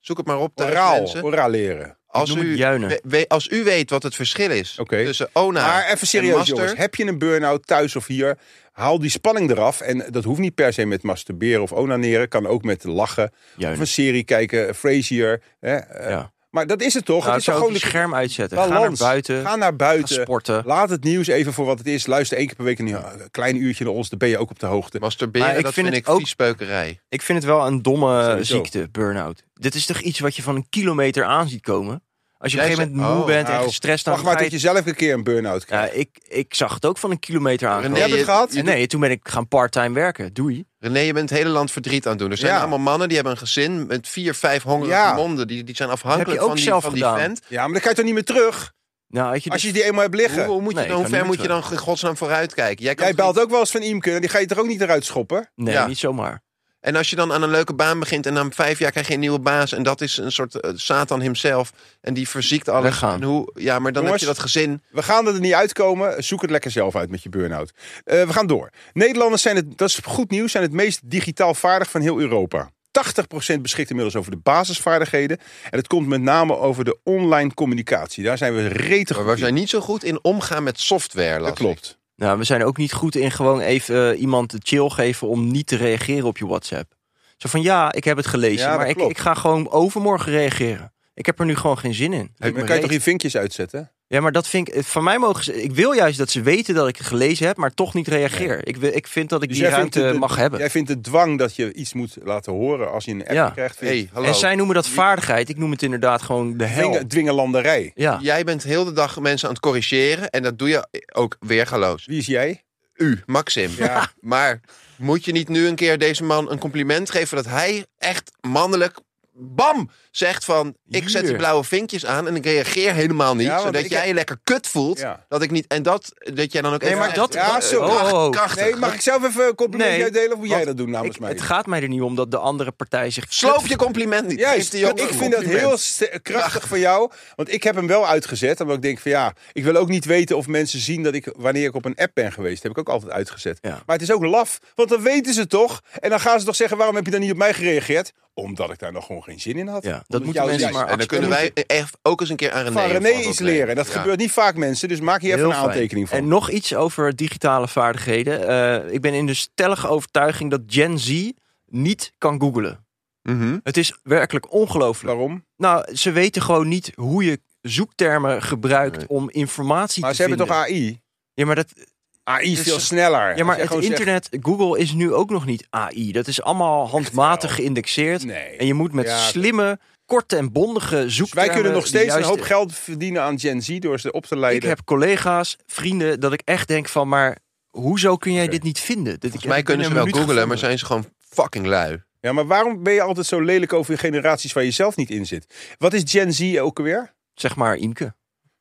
Speaker 3: zoek het maar op. thuis,
Speaker 1: Oraal.
Speaker 3: mensen.
Speaker 1: Oraal leren.
Speaker 3: Als
Speaker 2: noem het
Speaker 3: u,
Speaker 2: juinen.
Speaker 3: we- we- als u weet wat het verschil is
Speaker 1: Oké.
Speaker 3: tussen ona
Speaker 1: Maar even
Speaker 3: en
Speaker 1: serieus
Speaker 3: Nou, master,
Speaker 1: jongens. Heb je een burn-out thuis of hier? Haal die spanning eraf. En dat hoeft niet per se met masturberen of onaneren. Kan ook met lachen. Of een
Speaker 2: Juinen.
Speaker 1: serie kijken. Frasier. Hè? eh,
Speaker 2: Ja.
Speaker 1: Maar dat is het toch?
Speaker 2: Nou,
Speaker 1: het
Speaker 2: ik
Speaker 1: is toch
Speaker 2: zou ook
Speaker 1: gewoon
Speaker 2: het
Speaker 1: de
Speaker 2: scherm uitzetten.
Speaker 1: balans.
Speaker 2: Ga naar buiten.
Speaker 1: Ga naar
Speaker 2: Ga
Speaker 1: buiten.
Speaker 2: sporten.
Speaker 1: Laat het nieuws even voor wat het is. Luister één keer per week een, nieuw- een klein uurtje naar ons. Dan ben je ook op de hoogte.
Speaker 3: masturberen,
Speaker 2: Maar ik
Speaker 3: dat
Speaker 2: vind
Speaker 3: vind,
Speaker 2: het
Speaker 3: ik
Speaker 2: ook-
Speaker 3: viespeukerij.
Speaker 2: Ik vind het wel een domme
Speaker 1: Sowieso.
Speaker 2: ziekte, burn-out. Dit is toch iets wat je van een kilometer aan ziet komen? Als je op
Speaker 3: Jij
Speaker 2: een gegeven
Speaker 3: zei-
Speaker 2: moment moe
Speaker 3: oh,
Speaker 2: bent en
Speaker 1: Nou,
Speaker 2: gestrest... dan
Speaker 1: Wacht maar
Speaker 2: ga
Speaker 1: tot
Speaker 2: je-
Speaker 1: je zelf een keer een burn-out
Speaker 2: Ja,
Speaker 1: krijgt.
Speaker 2: ik, ik zag het ook van een kilometer aan.
Speaker 3: René,
Speaker 1: Jij hebt het
Speaker 3: je-
Speaker 1: gehad?
Speaker 2: Nee, nee, toen ben ik gaan part-time werken. Doei.
Speaker 3: René, je bent het hele land verdriet aan het doen. Er zijn
Speaker 1: Ja.
Speaker 3: allemaal mannen die hebben een gezin met vier, vijf hongerige
Speaker 1: Ja.
Speaker 3: monden. Die, die zijn
Speaker 2: Heb
Speaker 3: afhankelijk
Speaker 2: je ook
Speaker 3: van die,
Speaker 2: zelf
Speaker 3: van die
Speaker 2: gedaan?
Speaker 3: vent.
Speaker 1: Ja, maar dan kan je toch niet meer terug?
Speaker 2: Nou, had je
Speaker 1: Als
Speaker 2: dit-
Speaker 1: je die eenmaal hebt liggen.
Speaker 3: Hoe, hoe moet je,
Speaker 2: Nee,
Speaker 3: dan,
Speaker 2: ik
Speaker 3: hoe
Speaker 2: kan
Speaker 3: ver
Speaker 2: niet
Speaker 3: moet je
Speaker 2: terug.
Speaker 3: dan in godsnaam vooruitkijken? Jij kan
Speaker 1: Jij
Speaker 3: toch
Speaker 1: belt ook wel eens van Imke. en Die ga je toch ook niet eruit schoppen?
Speaker 2: Nee,
Speaker 3: Ja.
Speaker 2: niet zomaar.
Speaker 3: En als je dan aan een leuke baan begint en na vijf jaar krijg je een nieuwe baas. En dat is een soort eh, Satan himself. En die verziekt alles.
Speaker 2: Weggaan.
Speaker 3: En hoe, ja, maar dan
Speaker 1: Jongens.
Speaker 3: heb je dat gezin.
Speaker 1: We gaan er niet uitkomen. Zoek het lekker zelf uit met je burn-out. Eh, we gaan door. Nederlanders zijn het, dat is goed nieuws, zijn het meest digitaal vaardig van heel Europa. 80% beschikt inmiddels over de basisvaardigheden. En het komt met name over de online communicatie. Daar zijn we rete
Speaker 3: Maar
Speaker 1: goed
Speaker 3: we
Speaker 1: in.
Speaker 3: zijn niet zo goed in omgaan met software. las
Speaker 1: Dat
Speaker 3: ik.
Speaker 1: klopt.
Speaker 2: Nou, we zijn ook niet goed in gewoon even eh, iemand de chill geven om niet te reageren op je WhatsApp. Zo van, ja, ik heb het gelezen,
Speaker 1: Ja, dat
Speaker 2: maar ik,
Speaker 1: klopt.
Speaker 2: ik ga gewoon overmorgen reageren. Ik heb er nu gewoon geen zin in.
Speaker 1: Dan
Speaker 2: Leuk,
Speaker 1: kan je
Speaker 2: maar
Speaker 1: toch je vinkjes uitzetten?
Speaker 2: Ja, maar dat vind ik. Van mij mogen ze. Ik wil juist dat ze weten dat ik het gelezen heb, maar toch niet reageer. Ik, wil- ik vind dat ik
Speaker 1: Dus
Speaker 2: die
Speaker 1: jij vindt
Speaker 2: ruimte
Speaker 1: de-
Speaker 2: mag hebben.
Speaker 1: Jij vindt de dwang dat je iets moet laten horen als je een app
Speaker 2: Ja.
Speaker 1: krijgt. vind
Speaker 3: Hey, hallo.
Speaker 2: en zij noemen dat vaardigheid. Ik noem het inderdaad gewoon de
Speaker 1: je
Speaker 2: hel.
Speaker 1: dwinge- dwingelanderij.
Speaker 2: Ja.
Speaker 3: Jij bent heel de dag mensen aan het corrigeren. En dat doe je ook weergaloos.
Speaker 1: Wie is jij?
Speaker 3: U, Maxim.
Speaker 1: Ja.
Speaker 3: Maar moet je niet nu een keer deze man een compliment geven dat hij echt mannelijk. Bam! Zegt van, ik zet die
Speaker 2: Hier.
Speaker 3: blauwe vinkjes aan en ik reageer helemaal niet.
Speaker 1: Ja, want
Speaker 3: zodat
Speaker 1: ik
Speaker 3: jij
Speaker 1: heb-
Speaker 3: je lekker kut voelt.
Speaker 1: Ja.
Speaker 3: Dat ik niet, en dat, dat jij dan ook
Speaker 2: Nee,
Speaker 3: even
Speaker 2: maar
Speaker 3: echt-
Speaker 2: dat.
Speaker 1: Ja, zo.
Speaker 2: Oh, oh, oh.
Speaker 3: Krachtig.
Speaker 1: Nee, mag ik zelf even een compliment
Speaker 2: Nee,
Speaker 1: uitdelen of moet jij
Speaker 2: want
Speaker 1: dat doen namens
Speaker 2: Ik-
Speaker 1: mij?
Speaker 2: het gaat mij er niet om dat de andere partij zich.
Speaker 3: Sloop je compliment niet. Geef
Speaker 1: Juist,
Speaker 3: die jongen
Speaker 1: ik
Speaker 3: een
Speaker 1: vind dat
Speaker 3: compliment.
Speaker 1: heel st- krachtig van jou. Want ik heb hem wel uitgezet. Omdat ik denk van ja, ik wil ook niet weten of mensen zien dat ik wanneer ik op een app ben geweest. heb ik ook altijd uitgezet.
Speaker 2: Ja.
Speaker 1: Maar het is ook laf, want dan weten ze toch. En dan gaan ze toch zeggen, waarom heb je dan niet op mij gereageerd? Omdat ik daar nog gewoon geen zin in had.
Speaker 2: Ja, dat
Speaker 1: Omdat
Speaker 2: moeten
Speaker 1: jou-
Speaker 2: mensen
Speaker 1: juist.
Speaker 2: maar
Speaker 3: En dan kunnen wij echt ook eens een keer aan René,
Speaker 1: van René
Speaker 3: een voorbeeld
Speaker 1: iets leren. Dat
Speaker 3: Ja.
Speaker 1: gebeurt niet vaak mensen, dus maak hier even
Speaker 2: Heel
Speaker 1: een
Speaker 2: fijn.
Speaker 1: aantekening van.
Speaker 2: En nog iets over digitale vaardigheden. Eh, ik ben in de stellige overtuiging dat Gen Z niet kan googlen.
Speaker 3: Mhm.
Speaker 2: Het is werkelijk ongelooflijk.
Speaker 1: Waarom?
Speaker 2: Nou, ze weten gewoon niet hoe je zoektermen gebruikt
Speaker 3: Nee.
Speaker 2: om informatie
Speaker 1: Maar
Speaker 2: te
Speaker 1: ze hebben
Speaker 2: vinden.
Speaker 1: toch AI?
Speaker 2: Ja, maar dat,
Speaker 1: AI is
Speaker 2: Dus-
Speaker 1: veel sneller.
Speaker 2: Ja, maar
Speaker 1: Als je
Speaker 2: het
Speaker 1: gewoon zegt-
Speaker 2: internet, Google is nu ook nog niet AI. Dat is allemaal handmatig
Speaker 1: wel.
Speaker 2: geïndexeerd.
Speaker 1: Nee.
Speaker 2: En je moet met
Speaker 1: Ja, dat-
Speaker 2: slimme, korte en bondige
Speaker 1: Dus
Speaker 2: zoektermen...
Speaker 1: wij kunnen nog steeds een
Speaker 2: juist-
Speaker 1: hoop geld verdienen aan Gen Z door ze op te
Speaker 2: Ik
Speaker 1: leiden.
Speaker 2: heb collega's, vrienden, dat ik echt denk van... maar hoezo kun jij dit niet vinden? Dit,
Speaker 3: Volgens mij kunnen ze wel googlen, maar zijn ze gewoon fucking
Speaker 2: Nou,
Speaker 3: lui.
Speaker 1: Ja, maar waarom ben je altijd zo lelijk over generaties waar je zelf niet in zit? Wat is Gen Z ook alweer?
Speaker 2: Zeg maar Imke.
Speaker 1: Oh,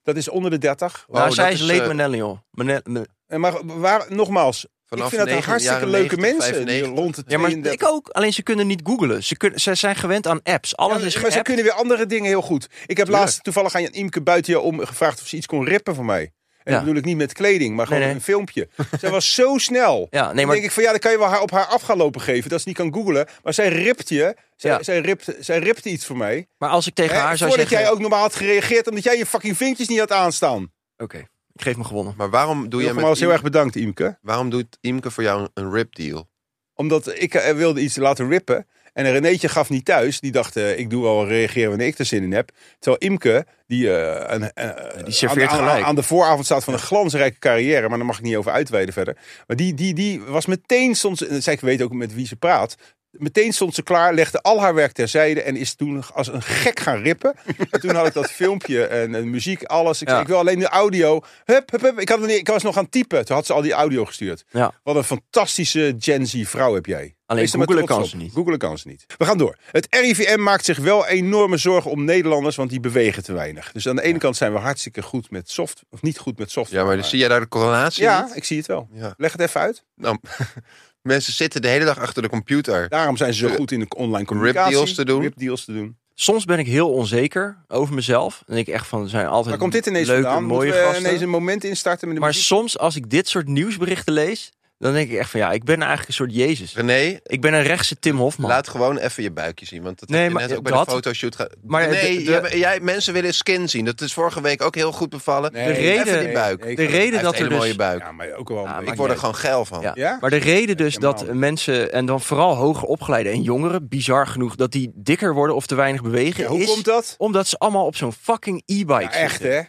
Speaker 1: Dat is onder de 30.
Speaker 3: Wow,
Speaker 2: nou, zij
Speaker 3: dat
Speaker 2: is
Speaker 3: is,
Speaker 2: late
Speaker 3: eh,
Speaker 2: millennial. Mene- me-
Speaker 1: En maar waar, nogmaals,
Speaker 3: Vanaf
Speaker 1: ik vind dat een
Speaker 3: negen-
Speaker 1: hartstikke
Speaker 3: jaren
Speaker 1: leuke
Speaker 3: 90,
Speaker 1: mensen die
Speaker 3: 95.
Speaker 1: rond de
Speaker 2: Ja, maar
Speaker 1: 32.
Speaker 2: ik ook. Alleen ze kunnen niet googlen. Ze, kunnen, ze zijn gewend aan apps. Alles
Speaker 1: Ja,
Speaker 2: is
Speaker 1: maar ze
Speaker 2: geappt.
Speaker 1: kunnen weer andere dingen heel goed. Ik heb
Speaker 2: Tuurlijk.
Speaker 1: laatst toevallig aan Imke buiten jou om gevraagd of ze iets kon rippen van mij. En
Speaker 2: Ja.
Speaker 1: dat bedoel ik niet met kleding, maar gewoon
Speaker 2: Nee, nee.
Speaker 1: een filmpje. Zij was zo snel.
Speaker 2: Ja, nee,
Speaker 1: Dan
Speaker 2: maar
Speaker 1: denk ik van ja, dan kan je wel haar op haar af gaan lopen geven. Dat ze niet kan googlen. Maar zij ript je. Zij,
Speaker 2: Ja.
Speaker 1: zij, ript, zij ript iets voor mij.
Speaker 2: Maar als ik tegen
Speaker 1: Hè,
Speaker 2: haar zou
Speaker 1: voordat
Speaker 2: zeggen...
Speaker 1: jij ook normaal had gereageerd. Omdat jij je fucking vinkjes niet had aanstaan.
Speaker 2: Oké. Ik geef me gewonnen.
Speaker 3: Maar waarom doe, jij met
Speaker 1: Nogmaals heel
Speaker 3: Imke-
Speaker 1: erg bedankt, Imke.
Speaker 3: waarom doet Imke voor jou een- een rip deal?
Speaker 1: Omdat ik eh, wilde iets laten rippen. En Renéetje gaf niet thuis. Die dacht, eh, ik doe wel reageren wanneer ik er zin in heb. Terwijl Imke, die, eh, een- eh,
Speaker 2: Die serveert
Speaker 1: aan, aan-
Speaker 2: gelijk.
Speaker 1: aan de vooravond staat van een glansrijke carrière. Maar daar mag ik niet over uitweiden verder. Maar die, die, die was meteen, soms, en zij weet ook met wie ze praat. Meteen stond ze klaar, legde al haar werk terzijde en is toen als een gek gaan rippen. En toen had ik dat filmpje en, en muziek, alles. Ik
Speaker 2: Ja.
Speaker 1: zei, ik wil alleen de audio. Hup, hup, hup. Ik, had het niet- ik was nog aan het typen. Toen had ze al die audio gestuurd.
Speaker 2: Ja.
Speaker 1: Wat een fantastische Gen Z vrouw heb jij.
Speaker 2: Alleen
Speaker 1: Wees er maar
Speaker 2: googelen
Speaker 1: trots
Speaker 2: kan
Speaker 1: op.
Speaker 2: ze niet.
Speaker 1: Googelen kan ze niet. We gaan door. Het RIVM maakt zich wel enorme zorgen om Nederlanders, want die bewegen te weinig. Dus aan de ene kant zijn we hartstikke goed met soft, of niet goed met soft.
Speaker 3: Ja, maar zie jij daar de correlatie
Speaker 1: Ja,
Speaker 3: niet?
Speaker 1: ik zie het wel.
Speaker 3: Ja.
Speaker 1: Leg het even uit.
Speaker 3: Nou, mensen zitten de hele dag achter de computer.
Speaker 1: Daarom zijn ze zo goed in de online communicatie.
Speaker 3: Ripdeals Eh, te doen.
Speaker 1: Ripdeals te doen.
Speaker 2: Soms ben ik heel onzeker over mezelf. En denk ik echt van, er zijn altijd
Speaker 1: Waar komt dit ineens
Speaker 2: leuke,
Speaker 1: vandaan?
Speaker 2: mooie
Speaker 1: Moeten we eh,
Speaker 2: gasten.
Speaker 1: ineens een moment instarten met de
Speaker 2: Maar
Speaker 1: muziek?
Speaker 2: soms als ik dit soort nieuwsberichten lees, dan denk ik echt van ja, ik ben eigenlijk een soort Jezus.
Speaker 3: René,
Speaker 2: Ik ben een rechtse Tim Hofman.
Speaker 3: laat gewoon even je buikje zien. Want dat
Speaker 2: Nee,
Speaker 3: heb je
Speaker 2: maar
Speaker 3: net ook bij
Speaker 2: dat-
Speaker 3: de fotoshoot ge-
Speaker 2: Maar
Speaker 3: nee,
Speaker 2: de- de-
Speaker 3: jij- jij, mensen willen skin zien. Dat is vorige week ook heel goed bevallen.
Speaker 1: Nee,
Speaker 2: de reden-
Speaker 3: even die buik.
Speaker 1: nee,
Speaker 2: de
Speaker 1: ik-
Speaker 2: reden
Speaker 3: Hij
Speaker 2: dat
Speaker 3: heeft
Speaker 2: er
Speaker 3: een
Speaker 2: dus...
Speaker 3: mooie buik.
Speaker 1: Ja, maar ook wel.
Speaker 2: Ah,
Speaker 1: een
Speaker 2: maar
Speaker 3: ik
Speaker 1: beetje-
Speaker 3: word er gewoon geil van.
Speaker 2: Ja.
Speaker 1: Ja?
Speaker 2: Maar de reden dus
Speaker 1: helemaal.
Speaker 2: dat mensen, en dan vooral hoger opgeleide en jongeren, bizar genoeg, dat die dikker worden of te weinig bewegen,
Speaker 1: Ja, hoe
Speaker 2: is
Speaker 1: komt dat?
Speaker 2: omdat ze allemaal op zo'n fucking e-bike
Speaker 1: Ja, echt,
Speaker 2: zitten.
Speaker 1: hè?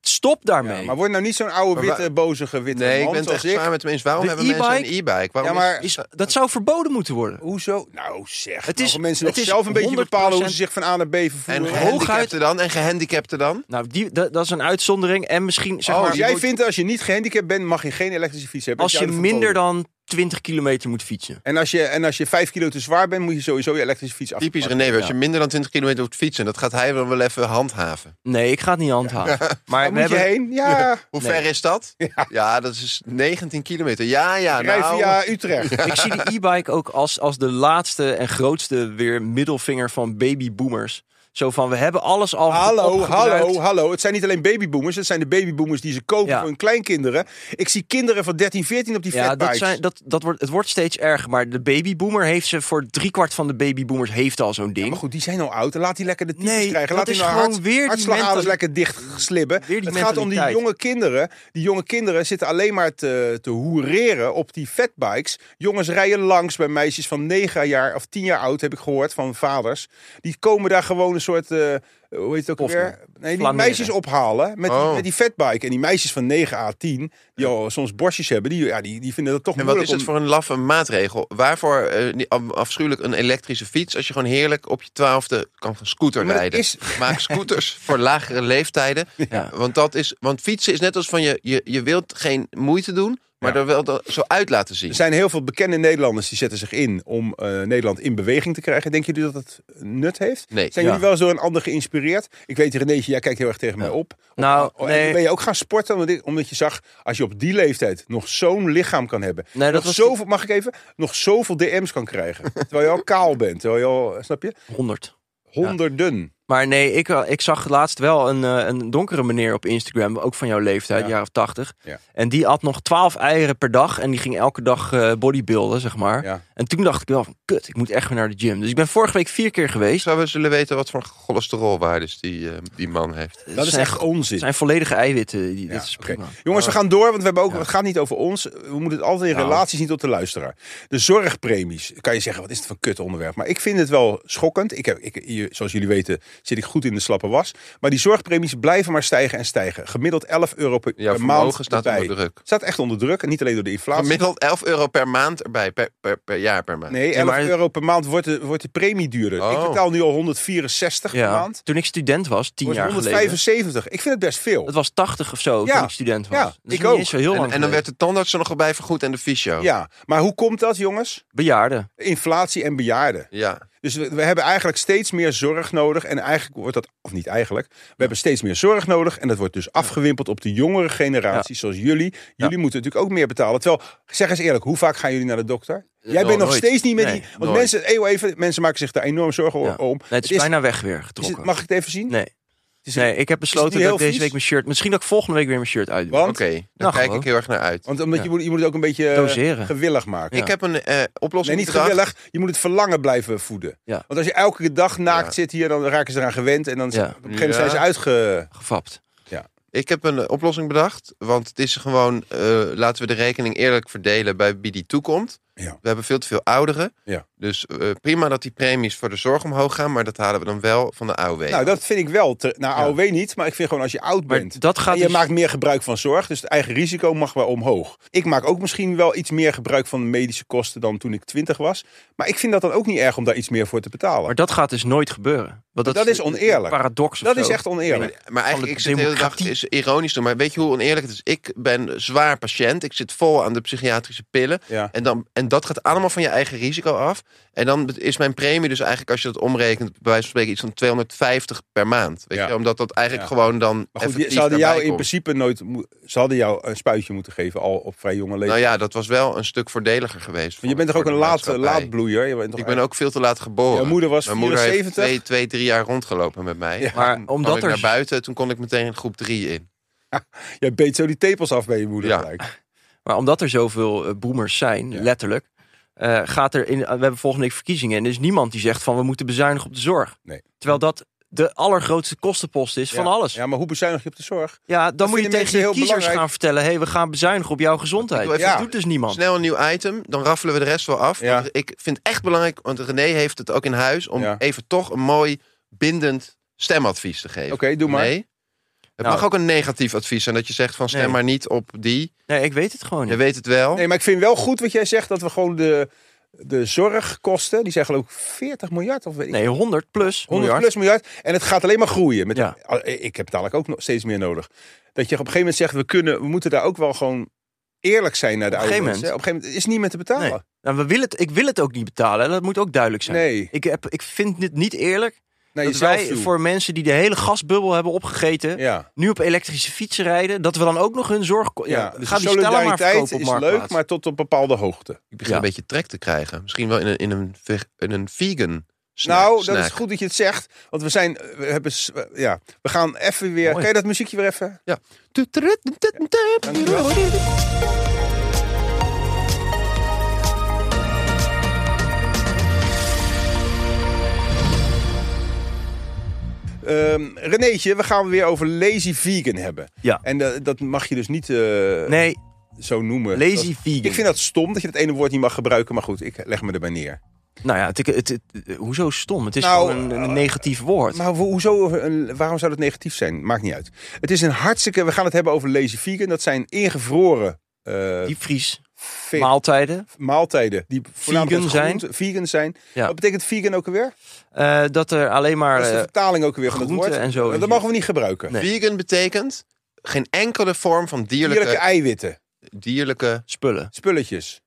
Speaker 2: Stop daarmee.
Speaker 1: Ja, maar word nou niet zo'n oude,
Speaker 3: Maar wa-
Speaker 1: witte, bozige, witte
Speaker 3: Nee, ik
Speaker 1: man
Speaker 3: ben het
Speaker 1: zoals
Speaker 3: echt
Speaker 1: ik.
Speaker 3: zwaar met de mensen. Waarom
Speaker 2: De
Speaker 3: hebben mensen een
Speaker 2: e-bike?
Speaker 3: e-bike? Waarom
Speaker 1: Ja, maar-
Speaker 3: is-
Speaker 2: is, dat zou verboden moeten worden.
Speaker 1: Hoezo? Nou zeg,
Speaker 2: Het
Speaker 1: het
Speaker 2: is-
Speaker 1: is, mensen
Speaker 2: het
Speaker 1: nog
Speaker 2: is
Speaker 1: zelf een beetje bepalen hoe ze
Speaker 2: 100%
Speaker 1: zich van A naar B
Speaker 3: En
Speaker 1: vervoeren.
Speaker 3: gehandicapten dan? En gehandicapten dan?
Speaker 2: Nou, die, dat, dat is een uitzondering. En misschien, zeg
Speaker 1: oh,
Speaker 2: maar,
Speaker 1: jij
Speaker 2: moet-
Speaker 1: vindt als je niet gehandicapt bent, mag je geen elektrische fiets hebben.
Speaker 2: als
Speaker 1: Dat
Speaker 2: je
Speaker 1: is jou de
Speaker 2: minder
Speaker 1: verboden.
Speaker 2: dan 20 kilometer moet fietsen.
Speaker 1: En als, je, en als je vijf kilo te zwaar bent, moet je sowieso je elektrische fiets af.
Speaker 3: Typisch René, als je minder dan 20 kilometer hoeft fietsen, dat gaat hij dan wel even handhaven.
Speaker 2: Nee, ik ga het niet handhaven. Maar
Speaker 1: Waar
Speaker 2: we
Speaker 1: moet je
Speaker 2: hebben,
Speaker 1: heen? Ja,
Speaker 3: Hoe
Speaker 2: Nee.
Speaker 3: ver is dat? Ja. dat is 19 kilometer. Ja, ja,
Speaker 1: rij
Speaker 3: nou.
Speaker 1: via Utrecht.
Speaker 2: Ik zie de e-bike ook als, als de laatste en grootste weer middelvinger van babyboomers. Zo van, we hebben alles al
Speaker 1: Hallo,
Speaker 2: opgebruikt.
Speaker 1: hallo, hallo. Het zijn niet alleen babyboomers. Het zijn de babyboomers die ze kopen
Speaker 2: Ja.
Speaker 1: voor hun kleinkinderen. Ik zie kinderen van 13, 14 op die
Speaker 2: Ja, dat
Speaker 1: fatbikes.
Speaker 2: zijn, dat, dat wordt, het wordt steeds erger. Maar de babyboomer heeft ze, voor driekwart van de babyboomers heeft al zo'n ding.
Speaker 1: Maar goed, die zijn al oud. Laat die lekker de tyfus
Speaker 2: Nee,
Speaker 1: krijgen.
Speaker 2: dat
Speaker 1: Laat die
Speaker 2: is
Speaker 1: nou
Speaker 2: gewoon
Speaker 1: hart,
Speaker 2: weer die
Speaker 1: hartslagaders
Speaker 2: mentali-
Speaker 1: lekker dicht slibben.
Speaker 2: Weer die
Speaker 1: het gaat om die
Speaker 2: mentaliteit.
Speaker 1: jonge kinderen. Die jonge kinderen zitten alleen maar te, te hoereren op die fatbikes. Jongens rijden langs bij meisjes van 9 jaar of 10 jaar oud, heb ik gehoord van vaders. Die komen daar gewoon een soort... eh, hoe heet het ook
Speaker 2: Poffen.
Speaker 1: weer? Nee, die
Speaker 2: Flaneren.
Speaker 1: meisjes ophalen met, die,
Speaker 3: Oh.
Speaker 1: met die fatbike. En die meisjes van 9 à 10, die al soms borstjes hebben, die, ja, die, die vinden dat toch
Speaker 3: En wat
Speaker 1: moeilijk
Speaker 3: is het
Speaker 1: om-
Speaker 3: voor een laffe maatregel? Waarvoor eh, die af- afschuwelijk een elektrische fiets als je gewoon heerlijk op je twaalfde kan gaan scooter
Speaker 1: Maar dat
Speaker 3: rijden?
Speaker 1: is-
Speaker 3: Maak scooters voor lagere leeftijden.
Speaker 2: Ja.
Speaker 3: Want, dat is, want fietsen is net als van je, je, je wilt geen moeite doen, maar
Speaker 1: Ja.
Speaker 3: er wel dat zo uit laten zien.
Speaker 1: Er zijn heel veel bekende Nederlanders die zetten zich in om eh, Nederland in beweging te krijgen. Denken jullie dat dat nut heeft?
Speaker 3: Nee.
Speaker 1: Zijn
Speaker 2: Ja.
Speaker 1: jullie wel eens door een ander geïnspireerd? Ik weet, Renéetje, jij kijkt heel erg tegen mij op.
Speaker 2: Nou,
Speaker 1: Oh, en
Speaker 2: nee.
Speaker 1: Ben je ook gaan sporten omdat, ik- omdat je zag, als je op die leeftijd nog zo'n lichaam kan hebben.
Speaker 2: Nee, dat
Speaker 1: nog
Speaker 2: was
Speaker 1: zoveel, mag ik even? Nog zoveel DM's kan krijgen. terwijl je al kaal bent. Terwijl je al, snap je?
Speaker 2: 100.
Speaker 1: Honderden.
Speaker 2: Maar nee, ik, eh, ik zag laatst wel een, eh, een donkere meneer op Instagram, ook van jouw leeftijd,
Speaker 1: Ja.
Speaker 2: jaar of 80.
Speaker 1: Ja.
Speaker 2: En die had nog 12 eieren per dag en die ging elke dag eh, bodybuilden, zeg maar.
Speaker 1: Ja. Nou,
Speaker 2: En toen dacht ik wel van, kut, ik moet echt weer naar de gym. Dus ik ben vorige week vier keer geweest.
Speaker 3: Zouden we zullen weten wat voor cholesterolwaardes die, eh, die man heeft?
Speaker 1: Dat is
Speaker 2: zijn,
Speaker 1: echt onzin.
Speaker 2: zijn volledige eiwitten. Die,
Speaker 1: Ja,
Speaker 2: dat is
Speaker 1: oké.
Speaker 2: prima. Eh,
Speaker 1: Jongens, we gaan door, want we hebben ook,
Speaker 2: Ja.
Speaker 1: het gaat niet over ons. We moeten het altijd in
Speaker 2: Nou.
Speaker 1: relaties niet tot de luisteraar. De zorgpremies, kan je zeggen, wat is het voor een kut onderwerp? Maar ik vind het wel schokkend. Ik heb, ik, je- zoals jullie weten zit ik goed in de slappe was. Maar die zorgpremies blijven maar stijgen en stijgen. Gemiddeld 11 euro per
Speaker 3: Jouw
Speaker 1: per maand
Speaker 3: vermogen staat onder
Speaker 1: erbij.
Speaker 3: druk.
Speaker 1: Staat echt onder druk, en niet alleen door de inflatie.
Speaker 3: Gemiddeld 11 euro per maand erbij, per, per, per jaar per maand.
Speaker 1: Nee,
Speaker 2: Ja,
Speaker 1: 11
Speaker 2: maar-
Speaker 1: euro per maand wordt de, wordt de premie duurder.
Speaker 3: Oh.
Speaker 1: Ik betaal nu al 164 per
Speaker 2: Ja.
Speaker 1: maand.
Speaker 2: Toen ik student was, tien
Speaker 1: Wordt
Speaker 2: jaar geleden.
Speaker 1: 175. Ik vind het best veel.
Speaker 2: Het was 80 of zo
Speaker 1: Ja,
Speaker 2: toen ik student was.
Speaker 1: ja,
Speaker 2: Dat is
Speaker 1: ik
Speaker 2: niet
Speaker 1: ook.
Speaker 2: eens zo heel
Speaker 3: En,
Speaker 2: lang
Speaker 3: en dan
Speaker 2: geleden.
Speaker 3: werd de tandarts er nog bij vergoed en de fysio.
Speaker 1: Ja, maar hoe komt dat, jongens?
Speaker 2: Bejaarden.
Speaker 1: Inflatie en bejaarden.
Speaker 3: ja.
Speaker 1: Dus we, we hebben eigenlijk steeds meer zorg nodig. En eigenlijk wordt dat, of niet eigenlijk, we hebben steeds meer zorg nodig. En dat wordt dus afgewimpeld op de jongere generaties, zoals jullie. Jullie moeten natuurlijk ook meer betalen. Terwijl, zeg eens eerlijk, hoe vaak gaan jullie naar de dokter? Jij
Speaker 3: nog
Speaker 1: bent nog
Speaker 3: nooit.
Speaker 1: steeds niet met
Speaker 2: Eh, Nee,
Speaker 1: die. Want
Speaker 3: nooit.
Speaker 1: mensen, eeuw even, mensen maken zich daar enorm zorgen o-
Speaker 2: Ja.
Speaker 1: om.
Speaker 2: Nee, het is, bijna weg weer
Speaker 1: is
Speaker 2: getrokken.
Speaker 1: het- mag ik het even zien?
Speaker 2: nee.
Speaker 1: Het is-
Speaker 2: nee, ik heb besloten
Speaker 1: heel
Speaker 2: dat ik deze
Speaker 1: vies?
Speaker 2: week mijn shirt... Misschien dat ik volgende week weer mijn shirt uitdoe.
Speaker 1: Want?
Speaker 3: Oké, daar
Speaker 2: Nou,
Speaker 3: kijk
Speaker 2: gewoon.
Speaker 3: ik heel erg naar uit.
Speaker 1: Want omdat
Speaker 2: Ja.
Speaker 1: je, moet, je moet het ook een beetje eh,
Speaker 2: Doseren.
Speaker 1: gewillig maken.
Speaker 2: Ja.
Speaker 3: Ik heb een eh, oplossing
Speaker 1: Nee, niet
Speaker 3: bedacht.
Speaker 1: gewillig. Je moet het verlangen blijven voeden.
Speaker 2: Ja.
Speaker 1: Want als je elke dag naakt
Speaker 3: Ja.
Speaker 1: zit hier, dan raken ze eraan gewend. En dan
Speaker 2: Ja.
Speaker 1: op een gegeven moment zijn ze
Speaker 3: Ja.
Speaker 1: uitge...
Speaker 2: Gefapt.
Speaker 1: Ja.
Speaker 3: Ik heb een eh, oplossing bedacht. Want het is gewoon, eh, laten we de rekening eerlijk verdelen bij wie die toekomt.
Speaker 1: Ja.
Speaker 3: We hebben veel te veel ouderen.
Speaker 1: Ja.
Speaker 3: Dus eh, prima dat die premies voor de zorg omhoog gaan. Maar dat halen we dan wel van de AOW.
Speaker 1: Nou, dat vind ik wel. Te, nou,
Speaker 3: Ja.
Speaker 1: AOW niet, maar ik vind gewoon als je oud
Speaker 2: Maar
Speaker 1: bent.
Speaker 2: dat gaat
Speaker 1: en je
Speaker 2: dus-
Speaker 1: maakt meer gebruik van zorg, dus het eigen risico mag wel omhoog. Ik maak ook misschien wel iets meer gebruik van medische kosten dan toen ik 20 was. Maar ik vind dat dan ook niet erg om daar iets meer voor te betalen.
Speaker 2: Maar dat gaat dus nooit gebeuren. Want
Speaker 1: Dat is oneerlijk.
Speaker 2: een Paradox of
Speaker 1: dat is
Speaker 2: zo.
Speaker 1: echt oneerlijk.
Speaker 3: Maar
Speaker 2: Van de
Speaker 3: eigenlijk, ik zit de hele dag
Speaker 2: democratie.
Speaker 3: is ironisch doen. Maar weet je hoe oneerlijk het is? Ik ben zwaar patiënt. Ik zit vol aan de psychiatrische pillen.
Speaker 1: Ja.
Speaker 3: En, dan, en dat gaat allemaal van je eigen risico af. En dan is mijn premie dus eigenlijk, als je dat omrekent, bij wijze van spreken iets van 250 per maand. Weet
Speaker 1: Ja.
Speaker 3: je? Omdat dat eigenlijk
Speaker 1: Ja.
Speaker 3: gewoon
Speaker 1: Maar
Speaker 3: dan.
Speaker 1: goed, die-
Speaker 3: effectief
Speaker 1: ze hadden
Speaker 3: daarbij
Speaker 1: jou in
Speaker 3: komt.
Speaker 1: principe nooit. mo- Ze hadden jou een spuitje moeten geven al op vrij jonge leeftijd.
Speaker 3: Nou ja, dat was wel een stuk voordeliger geweest.
Speaker 1: Want je bent toch ook een laat,
Speaker 3: laatste
Speaker 1: laatbloeier? Je bent toch
Speaker 3: Ik ben ook veel te laat geboren.
Speaker 1: Jouw moeder was
Speaker 3: Mijn moeder heeft
Speaker 1: 74?
Speaker 3: twee, twee, drie jaar rondgelopen met mij.
Speaker 1: Ja.
Speaker 2: Maar
Speaker 3: Toen kwam
Speaker 2: omdat
Speaker 3: ik
Speaker 2: er...
Speaker 3: naar buiten, toen kon ik meteen groep 3 in.
Speaker 1: Jij beet zo die tepels af bij je moeder
Speaker 3: Ja.
Speaker 1: gelijk.
Speaker 2: Maar omdat er zoveel eh, boomers zijn,
Speaker 1: Ja.
Speaker 2: letterlijk, eh, gaat er in, we hebben volgende week verkiezingen en er is niemand die zegt van we moeten bezuinigen op de zorg.
Speaker 1: Nee.
Speaker 2: Terwijl dat de allergrootste kostenpost is van
Speaker 1: Ja.
Speaker 2: alles. Ja,
Speaker 1: Ja, maar hoe bezuinig je op de zorg?
Speaker 2: dan moet je
Speaker 1: vinden
Speaker 2: tegen
Speaker 1: mensen
Speaker 2: je
Speaker 1: heel
Speaker 2: kiezers
Speaker 1: belangrijk.
Speaker 2: gaan vertellen, hé, hey, we gaan bezuinigen op jouw gezondheid.
Speaker 3: Ik doe
Speaker 2: Dat
Speaker 3: even-
Speaker 1: Ja.
Speaker 2: doet dus niemand.
Speaker 3: Snel een nieuw item, dan raffelen we de rest wel af.
Speaker 1: Ja.
Speaker 3: Want ik vind het echt belangrijk, want René heeft het ook in huis, om
Speaker 1: Ja.
Speaker 3: even toch een mooi bindend stemadvies te geven.
Speaker 1: Oké, doe maar.
Speaker 3: Nee. Het
Speaker 2: Nou.
Speaker 3: mag ook een negatief advies zijn, dat je zegt van stem
Speaker 2: Nee.
Speaker 3: maar niet op die.
Speaker 2: Nee, ik weet het gewoon
Speaker 3: Je
Speaker 2: niet.
Speaker 3: weet het wel.
Speaker 1: Nee, maar ik vind wel goed wat jij zegt dat we gewoon de, de zorgkosten, die zijn geloof ik 40 miljard of weet ik.
Speaker 2: Nee, 100 plus
Speaker 1: 100
Speaker 2: miljard.
Speaker 1: plus miljard. En het gaat alleen maar groeien. Met
Speaker 2: Ja.
Speaker 1: Ah, Ik heb dadelijk ook nog steeds meer nodig. Dat je op een gegeven moment zegt, we, kunnen, we moeten daar ook wel gewoon eerlijk zijn naar de
Speaker 2: Op een
Speaker 1: oude
Speaker 2: gegeven
Speaker 1: mensen. Op een gegeven moment is het niet meer te betalen.
Speaker 2: Nou, we willen het, ik wil het ook niet betalen, hè, dat moet ook duidelijk zijn.
Speaker 1: Nee.
Speaker 2: Ik, heb, ik vind dit niet eerlijk
Speaker 1: Naar
Speaker 2: dat
Speaker 1: jezelf
Speaker 2: wij
Speaker 1: toe.
Speaker 2: voor mensen die de hele gasbubbel hebben opgegeten,
Speaker 1: Ja.
Speaker 2: nu op elektrische fietsen rijden, dat we dan ook nog hun zorg... Ja, ga
Speaker 1: Ja,
Speaker 2: die
Speaker 1: dus de
Speaker 2: stellen maar
Speaker 1: solidariteit
Speaker 2: verkopen op
Speaker 1: is leuk,
Speaker 2: Marktplaats.
Speaker 1: maar tot op bepaalde hoogte.
Speaker 3: Ik begin
Speaker 2: Ja.
Speaker 3: een beetje trek te krijgen. Misschien wel in een, in een, ve- in een vegan snack.
Speaker 1: nou, dat
Speaker 3: snack.
Speaker 1: is goed dat je het zegt. Want we zijn, we hebben, s- ja, we gaan even weer.
Speaker 2: Mooi.
Speaker 1: Kan je dat muziekje weer even?
Speaker 3: Ja.
Speaker 1: Dankjewel. Ehm Renéetje, we gaan weer over lazy vegan hebben.
Speaker 2: Ja.
Speaker 1: En eh, dat mag je dus niet eh,
Speaker 2: Nee,
Speaker 1: zo noemen.
Speaker 2: lazy
Speaker 1: Dat-
Speaker 2: vegan.
Speaker 1: Ik vind dat stom dat je dat ene woord niet mag gebruiken, maar goed, ik leg me erbij neer.
Speaker 2: Nou ja, het, het, het- het- hoezo stom? Het is
Speaker 1: Nou,
Speaker 2: gewoon een,
Speaker 1: eh,
Speaker 2: een negatief woord.
Speaker 1: Maar ho- hoezo, een- waarom zou dat negatief zijn? Maakt niet uit. Het is een hartstikke, we gaan het hebben over lazy vegan. Dat zijn ingevroren eh,
Speaker 2: Diepvries,
Speaker 1: ve-
Speaker 2: maaltijden.
Speaker 1: maaltijden die voornamelijk
Speaker 2: Vegan
Speaker 1: uit
Speaker 2: zijn.
Speaker 1: groente- vegan zijn.
Speaker 2: Ja.
Speaker 1: Wat betekent vegan ook alweer?
Speaker 2: eh, dat er alleen maar...
Speaker 1: Dat is de
Speaker 2: eh,
Speaker 1: vertaling ook weer van het
Speaker 2: groente
Speaker 1: woord.
Speaker 2: en zo
Speaker 1: dat
Speaker 2: in
Speaker 1: mogen we niet gebruiken.
Speaker 2: Nee.
Speaker 3: Vegan betekent geen enkele vorm van dierlijke...
Speaker 1: Dierlijke
Speaker 3: dierlijke,
Speaker 2: eh,
Speaker 1: eiwitten.
Speaker 2: spullen.
Speaker 1: spulletjes.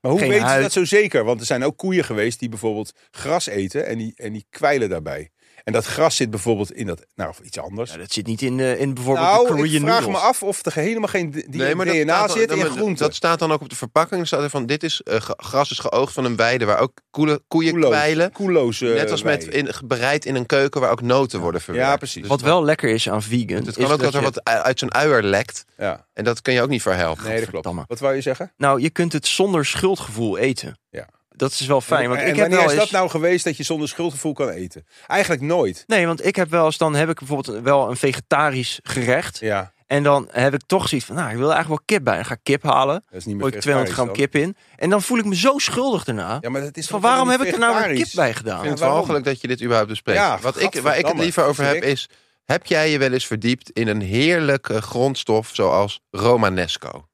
Speaker 1: Maar hoe
Speaker 2: Geen
Speaker 1: weten ze
Speaker 2: huid.
Speaker 1: dat zo zeker? Want er zijn ook koeien geweest die bijvoorbeeld gras eten en die, en die kwijlen daarbij. En dat gras zit bijvoorbeeld in dat, nou of iets anders.
Speaker 2: Ja, dat zit niet in, eh, in bijvoorbeeld de
Speaker 1: nou,
Speaker 2: Korean
Speaker 1: ik vraag
Speaker 2: noodles.
Speaker 1: me af of er helemaal geen d- die
Speaker 3: dat
Speaker 1: DNA
Speaker 3: staat dan-
Speaker 1: zit
Speaker 3: dan-
Speaker 1: in
Speaker 3: maar
Speaker 1: groenten.
Speaker 3: Dat staat dan ook op de verpakking. Er staat er van, dit is eh, ge- gras is geoogd van een weide waar ook koele, koeien
Speaker 1: Koeloos-
Speaker 3: kwijlen.
Speaker 1: koeloos, eh,
Speaker 3: Net als met
Speaker 1: wei.
Speaker 3: in, bereid in een keuken waar ook noten worden verwerkt. Dus
Speaker 1: Ja, precies.
Speaker 2: Wat wel lekker is aan vegan...
Speaker 3: Het
Speaker 2: is
Speaker 3: kan ook dat er
Speaker 2: je-
Speaker 3: wat u- uit zo'n uier lekt.
Speaker 1: Ja,
Speaker 3: En dat kun je ook niet verhelpen.
Speaker 1: nee, dat klopt.
Speaker 2: Godverdamme.
Speaker 1: Wat wou je zeggen?
Speaker 2: Nou, je kunt het zonder schuldgevoel eten.
Speaker 1: Ja.
Speaker 2: Dat is wel fijn, want
Speaker 1: en
Speaker 2: ik heb
Speaker 1: wanneer
Speaker 2: wel
Speaker 1: is
Speaker 2: eens...
Speaker 1: dat nou geweest dat je zonder schuldgevoel kan eten? Eigenlijk nooit.
Speaker 2: Nee, want ik heb wel eens... Dan heb ik bijvoorbeeld wel een vegetarisch gerecht.
Speaker 1: Ja,
Speaker 2: En dan heb ik toch zoiets van... Nou, ik wil eigenlijk wel kip bij. Dan ga ik kip halen.
Speaker 1: dat is niet meer
Speaker 2: Gooi ik 200 gram
Speaker 1: vegetarisch
Speaker 2: kip in. En dan voel ik me zo schuldig daarna.
Speaker 1: dan. Ja, maar dat is
Speaker 2: van
Speaker 1: toch
Speaker 2: waarom
Speaker 1: niet
Speaker 2: heb ik er nou weer kip
Speaker 1: vegetarisch?
Speaker 2: bij gedaan?
Speaker 3: Ik vind het
Speaker 1: waarom?
Speaker 3: walgelijk dat je dit überhaupt bespreekt.
Speaker 1: Ja,
Speaker 3: Wat ik, waar ik het
Speaker 1: gadverdamme.
Speaker 3: liever over heb is... Heb jij je wel eens verdiept in een heerlijke grondstof zoals Romanesco?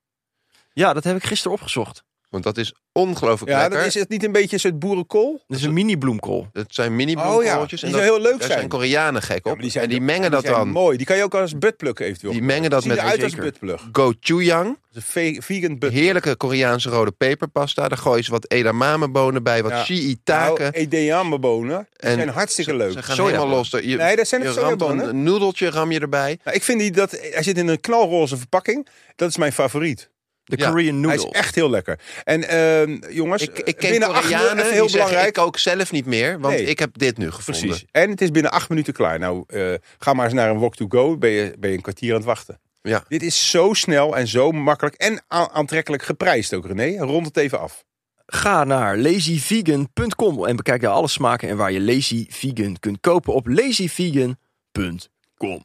Speaker 2: Ja, dat heb ik gisteren opgezocht.
Speaker 3: Want dat is ongelooflijk
Speaker 1: Ja,
Speaker 3: lekker.
Speaker 1: dat is het niet een beetje een soort boerenkool?
Speaker 2: Dat is een mini bloemkool.
Speaker 3: Het zijn mini
Speaker 1: Oh ja,
Speaker 3: bloemkooltjes.
Speaker 1: die
Speaker 3: en dat-
Speaker 1: zou heel leuk
Speaker 3: daar
Speaker 1: zijn.
Speaker 3: zijn Koreanen gek op.
Speaker 1: Ja, maar
Speaker 3: en die mengen
Speaker 1: en
Speaker 3: dat
Speaker 1: zijn
Speaker 3: dan.
Speaker 1: Mooi, die kan je ook als buttpluk eventueel.
Speaker 3: Die mengen dat
Speaker 1: Ziet
Speaker 3: met
Speaker 1: eruit
Speaker 3: een
Speaker 1: als
Speaker 2: zeker.
Speaker 1: buttplug. Dat
Speaker 3: gochujang.
Speaker 1: is een ve- vegan butt.
Speaker 3: Heerlijke Koreaanse rode peperpasta. Daar gooien ze wat edamamebonen bij, wat
Speaker 1: Ja.
Speaker 3: shiitake.
Speaker 1: Nou, edamamebonen, die
Speaker 3: En
Speaker 1: zijn hartstikke
Speaker 3: ze-
Speaker 1: leuk.
Speaker 3: Ze gaan
Speaker 2: Soja.
Speaker 3: helemaal los. Je,
Speaker 1: Nee, dat zijn
Speaker 3: je
Speaker 1: het
Speaker 3: ramt
Speaker 1: sojabonen.
Speaker 3: Een noedeltje ram je erbij.
Speaker 1: Nou, ik vind die dat, hij zit in een knalroze verpakking. Dat is mijn favoriet.
Speaker 2: De
Speaker 3: Ja,
Speaker 2: Korean noodle.
Speaker 1: Hij is echt heel lekker. En ehm, jongens,
Speaker 3: Ik, ik ken
Speaker 1: binnen acht minuten,
Speaker 3: Koreanen
Speaker 1: even
Speaker 3: heel
Speaker 1: heel
Speaker 3: die zeggen, ik
Speaker 1: belangrijk.
Speaker 3: kook zelf niet meer, want
Speaker 1: Nee.
Speaker 3: ik heb dit nu gevonden.
Speaker 1: Precies. En het is binnen acht minuten klaar. Nou, eh, ga maar eens naar een walk to go. Ben je, ben je een kwartier aan het wachten.
Speaker 3: Ja.
Speaker 1: Dit is zo snel en zo makkelijk en a- aantrekkelijk geprijsd ook, René. Rond het even af.
Speaker 2: Ga naar lazyvegan.com en bekijk daar alle smaken en waar je Lazy Vegan kunt kopen op lazyvegan.com.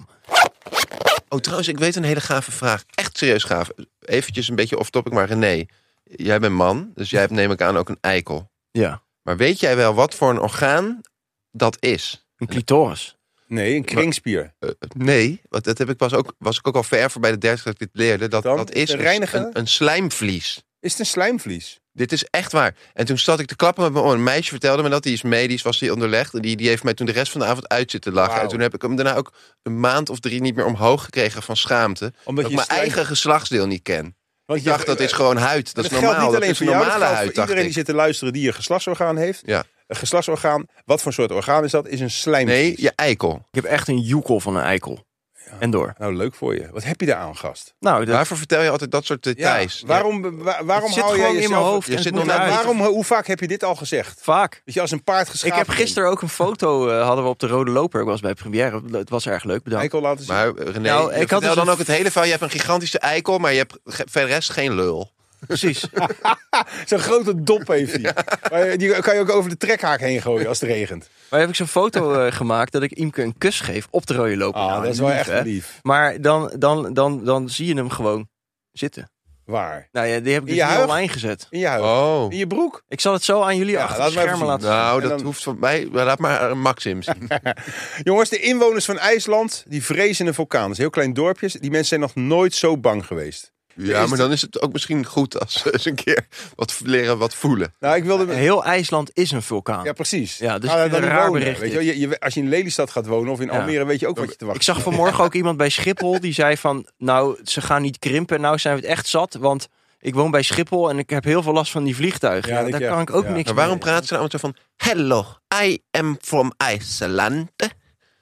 Speaker 3: Oh, trouwens, ik weet een hele gave vraag. Echt serieus gaaf. Eventjes een beetje off-topic, maar René. Jij bent man, dus jij hebt neem ik aan ook een eikel.
Speaker 2: Ja.
Speaker 3: Maar weet jij wel wat voor een orgaan dat is?
Speaker 2: Een clitoris.
Speaker 1: Nee, een kringspier.
Speaker 3: Eh, nee, want dat heb ik pas ook, was ik ook al ver voor bij de dertig dat ik dit leerde. Dat,
Speaker 1: Dan
Speaker 3: dat is
Speaker 1: te
Speaker 3: een-
Speaker 1: reinigen?
Speaker 3: Een, een slijmvlies.
Speaker 1: Is het een slijmvlies?
Speaker 3: Dit is echt waar. En toen zat ik te klappen met mijn oor. Een meisje vertelde me dat, die is medisch, was die onderlegd. En die, die heeft mij toen de rest van de avond uit zitten lachen.
Speaker 1: Wauw.
Speaker 3: En toen heb ik hem daarna ook een maand of drie niet meer omhoog gekregen van schaamte.
Speaker 1: Omdat
Speaker 3: dat
Speaker 1: je
Speaker 3: ik mijn
Speaker 1: slijm-
Speaker 3: eigen geslachtsdeel niet ken.
Speaker 1: Want
Speaker 3: Ik dacht, dat is gewoon huid. Dat is
Speaker 1: En het geldt
Speaker 3: normaal. Dat is
Speaker 1: voor
Speaker 3: een
Speaker 1: jou, dat
Speaker 3: normale
Speaker 1: geldt voor
Speaker 3: huid, dacht
Speaker 1: iedereen die zit
Speaker 3: ik.
Speaker 1: te luisteren die een geslachtsorgaan heeft.
Speaker 3: Ja.
Speaker 1: Een geslachtsorgaan, wat voor soort orgaan is dat? Is een slijmvlies.
Speaker 3: Nee, je eikel.
Speaker 2: Ik heb echt een joekel van een eikel. En door.
Speaker 1: Nou, leuk voor je. Wat heb je daar aan, gast?
Speaker 2: Nou, dat,
Speaker 3: Waarvoor vertel je altijd dat soort details?
Speaker 1: Ja, waarom wa- waarom
Speaker 2: het zit
Speaker 1: hou jij
Speaker 2: gewoon
Speaker 1: jezelf...
Speaker 2: in mijn hoofd.
Speaker 3: je
Speaker 2: en het
Speaker 3: zit
Speaker 2: moet
Speaker 3: nog net
Speaker 2: eruit.
Speaker 1: Waarom, hoe vaak heb je dit al gezegd?
Speaker 2: Vaak.
Speaker 1: Dat je als een paard
Speaker 2: Ik
Speaker 1: geschapen
Speaker 2: heb
Speaker 1: bent.
Speaker 2: gisteren ook een foto, eh, hadden we op de Rode Loper. Ik was bij première. Het was erg leuk, bedankt.
Speaker 1: Eikel laten zien.
Speaker 3: Maar eh, René,
Speaker 2: Nou, ik had
Speaker 3: vertel
Speaker 2: dus
Speaker 3: dan
Speaker 2: een-
Speaker 3: ook het hele verhaal. Je hebt een gigantische eikel, maar je hebt ge- verder rest geen lul.
Speaker 2: Precies.
Speaker 1: Zo'n grote dop heeft hij. Maar Die kan je ook over de trekhaak heen gooien als het regent.
Speaker 2: Maar heb ik zo'n foto eh, gemaakt dat ik Imke een kus geef op de Rode Loper.
Speaker 1: Ah,
Speaker 2: Nou,
Speaker 1: dat is wel echt
Speaker 2: hè?
Speaker 1: lief.
Speaker 2: Maar dan, dan, dan, dan zie je hem gewoon zitten.
Speaker 1: Waar?
Speaker 2: Nou ja, die heb ik
Speaker 1: In
Speaker 2: dus
Speaker 1: je
Speaker 2: niet
Speaker 1: huig?
Speaker 2: online gezet.
Speaker 1: In je huid.
Speaker 3: Oh.
Speaker 1: In je broek.
Speaker 2: Ik zal het zo aan jullie
Speaker 1: Ja,
Speaker 2: achter
Speaker 1: laat
Speaker 2: de
Speaker 1: maar even
Speaker 2: schermen
Speaker 1: zien.
Speaker 2: laten zien.
Speaker 3: Nou,
Speaker 1: En
Speaker 3: dat
Speaker 1: dan-
Speaker 3: hoeft van mij. Laat maar eh, Maxim zien.
Speaker 1: Jongens, de inwoners van IJsland, die vrezen een vulkaan. Dat is heel klein dorpjes. Die mensen zijn nog nooit zo bang geweest.
Speaker 3: Ja, maar dan is het ook misschien goed als ze eens een keer wat leren wat voelen.
Speaker 1: Nou, ik wilde...
Speaker 2: Heel IJsland is een vulkaan.
Speaker 1: Ja, precies.
Speaker 2: Ja, dus
Speaker 1: Ga daar
Speaker 2: ik vind het
Speaker 1: dan
Speaker 2: een
Speaker 1: in
Speaker 2: raar
Speaker 1: wonen,
Speaker 2: bericht
Speaker 1: Weet je, wel. je, je- als je in Lelystad gaat wonen of in
Speaker 2: Ja.
Speaker 1: Almere, weet je ook wat je te
Speaker 2: Ik
Speaker 1: wachten
Speaker 2: zag vanmorgen ook iemand bij Schiphol die zei van... Nou, ze gaan niet krimpen. Nou zijn we het echt zat, want ik woon bij Schiphol... en ik heb heel veel last van die vliegtuigen.
Speaker 1: Ja,
Speaker 2: Ja,
Speaker 1: dat
Speaker 2: daar
Speaker 1: je-
Speaker 2: kan ik ook
Speaker 1: ja.
Speaker 2: niks
Speaker 3: Maar waarom
Speaker 2: mee.
Speaker 3: praten ze nou allemaal zo van... Hello, I am from Iceland.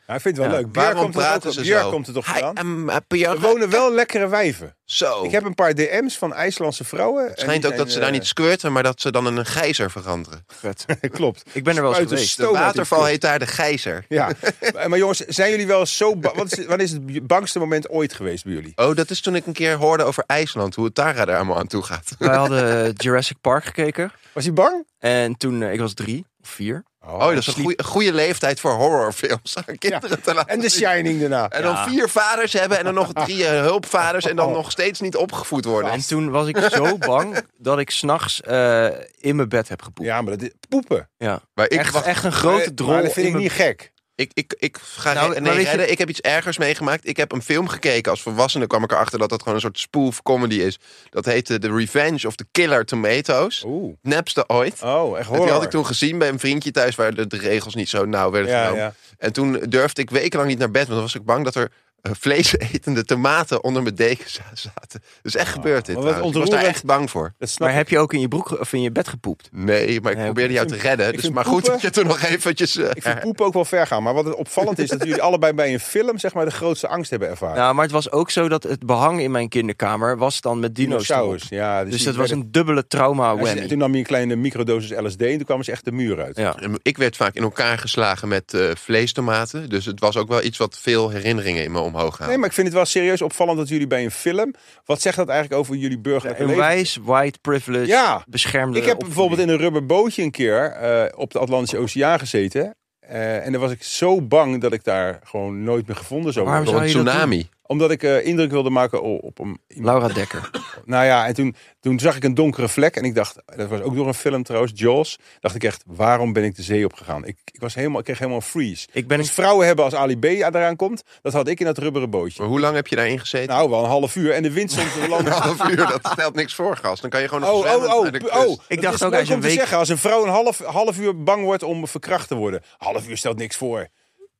Speaker 1: Ja, ik vind het wel
Speaker 2: Ja,
Speaker 1: leuk. Bier
Speaker 3: Waarom
Speaker 1: komt er
Speaker 3: praten
Speaker 1: ook-
Speaker 3: ze
Speaker 1: Bier
Speaker 3: zo?
Speaker 1: komt er toch
Speaker 3: I
Speaker 1: vandaan?
Speaker 3: am a Björk.
Speaker 1: Er wonen wel lekkere wijven.
Speaker 3: Zo.
Speaker 1: Ik heb een paar DM's van IJslandse vrouwen.
Speaker 3: Het schijnt ook dat ze
Speaker 1: eh,
Speaker 3: daar niet squirten, maar dat ze dan in een gijzer veranderen.
Speaker 2: Vet.
Speaker 1: Klopt.
Speaker 2: Ik ben er wel eens
Speaker 1: Spuiten
Speaker 2: geweest.
Speaker 1: stoom
Speaker 3: De
Speaker 1: uit die
Speaker 3: waterval
Speaker 1: kut.
Speaker 3: heet daar de gijzer.
Speaker 1: Ja, maar maar jongens, zijn jullie wel zo bang? Wat is, wat is het bangste moment ooit geweest bij jullie?
Speaker 3: Oh, dat is toen ik een keer hoorde over IJsland, hoe het daar daar allemaal aan toe gaat.
Speaker 2: Wij hadden eh, Jurassic Park gekeken.
Speaker 1: Was hij bang?
Speaker 2: En toen, eh, ik was drie of vier.
Speaker 3: Oh, dat is een goeie- een goede leeftijd voor horrorfilms aan kinderen te laten
Speaker 1: En The
Speaker 3: zien.
Speaker 1: Shining daarna.
Speaker 3: En dan
Speaker 2: Ja.
Speaker 3: vier vaders hebben en dan nog drie eh, hulpvaders en
Speaker 2: Oh.
Speaker 3: dan nog steeds niet opgevoed worden.
Speaker 2: En toen was ik zo bang dat ik s'nachts eh in mijn bed heb gepoept. Ja.
Speaker 1: Ja, maar dat is poepen.
Speaker 3: Maar ik,
Speaker 2: echt,
Speaker 3: wacht,
Speaker 2: echt een grote
Speaker 1: Maar-
Speaker 2: drol.
Speaker 1: Maar dat vind
Speaker 2: in
Speaker 1: ik
Speaker 2: mijn-
Speaker 1: niet gek.
Speaker 3: ik, ik, ik ga
Speaker 2: Nou,
Speaker 3: re-
Speaker 2: maar
Speaker 3: nee,
Speaker 2: weet je-
Speaker 3: redden. Ik heb iets ergers meegemaakt. Ik heb een film gekeken. Als volwassene kwam ik erachter dat dat gewoon een soort spoof comedy is. Dat heette The Revenge of the Killer Tomatoes.
Speaker 2: Oh.
Speaker 1: Oeh.
Speaker 3: Nepste ooit.
Speaker 1: Oh, echt
Speaker 3: En
Speaker 1: horror.
Speaker 3: die had ik toen gezien bij een vriendje thuis waar de, de regels niet zo nauw werden
Speaker 1: Ja,
Speaker 3: genomen.
Speaker 1: ja.
Speaker 3: En toen durfde ik wekenlang niet naar bed, want dan was ik bang dat er eh, vleesetende tomaten onder mijn deken za- zaten. Dus echt gebeurd dit.
Speaker 1: Oh, maar wat
Speaker 3: trouwens. Ik was daar
Speaker 1: ontroerend.
Speaker 3: echt bang voor.
Speaker 1: Dat snap
Speaker 2: Maar
Speaker 1: ik.
Speaker 2: heb je ook in je broek ge- of in je bed gepoept?
Speaker 3: Nee, maar ik
Speaker 2: Nee,
Speaker 3: probeerde jou te redden. Dus
Speaker 1: vind
Speaker 3: maar goed dat
Speaker 1: poepen-
Speaker 3: je toen nog eventjes... eh,
Speaker 1: Ik vind poepen ook wel ver gaan. Maar wat het opvallend is, dat jullie allebei bij een film zeg maar, de grootste angst hebben ervaren.
Speaker 2: Nou, maar het was ook zo dat het behang in mijn kinderkamer was dan met dino's erop.
Speaker 1: Dinosaurus. Ja,
Speaker 2: Dus
Speaker 1: die
Speaker 2: dat was
Speaker 1: werden-
Speaker 2: een dubbele trauma
Speaker 1: Hij zei- Toen
Speaker 2: whammy.
Speaker 1: nam je een kleine microdosis LSD en toen kwamen ze echt de muur uit.
Speaker 2: Ja.
Speaker 3: ik werd vaak in elkaar geslagen met eh, vleestomaten. Dus het was ook wel iets wat veel herinneringen in me omhoog haalde.
Speaker 1: Nee, maar ik vind het wel serieus opvallend dat jullie bij een film... Wat zegt dat eigenlijk over jullie burgerlijke
Speaker 2: Een
Speaker 1: leven?
Speaker 2: wijs, white privilege,
Speaker 1: Ja.
Speaker 2: beschermde
Speaker 1: Ik heb
Speaker 2: opvoeding.
Speaker 1: bijvoorbeeld in een rubberbootje een keer eh, op de Atlantische Oceaan gezeten. Eh, en dan was ik zo bang dat ik daar gewoon nooit meer gevonden zou
Speaker 2: Waarom
Speaker 1: worden.
Speaker 3: Door een
Speaker 2: zou je dat
Speaker 3: tsunami.
Speaker 1: Omdat ik eh, indruk wilde maken o- op een...
Speaker 2: Laura Dekker.
Speaker 1: Nou ja, en toen, toen zag ik een donkere vlek. En ik dacht, dat was ook door een film trouwens, Jaws. Dacht ik echt, waarom ben ik de zee opgegaan? Ik, ik, was helemaal, ik kreeg helemaal een freeze.
Speaker 2: Ik ben
Speaker 1: Dus vrouwen hebben als Ali B eraan komt, dat had ik in dat rubberen bootje.
Speaker 3: Maar hoe lang heb je daarin gezeten?
Speaker 1: Nou, wel een half uur. En de wind stond te
Speaker 3: een
Speaker 1: landen.
Speaker 3: half uur, dat stelt niks voor, gast. Dan kan je gewoon nog
Speaker 1: Nou. Oh, oh,
Speaker 3: zwemmen
Speaker 1: oh,
Speaker 3: naar de kust.
Speaker 1: oh.
Speaker 2: Ik
Speaker 1: Dat
Speaker 2: dacht
Speaker 1: is
Speaker 2: ook
Speaker 1: leuk
Speaker 2: als je
Speaker 1: om
Speaker 2: een
Speaker 1: te
Speaker 2: week-
Speaker 1: zeggen, als een vrouw een half, half uur bang wordt om verkracht te worden. Half uur stelt niks voor.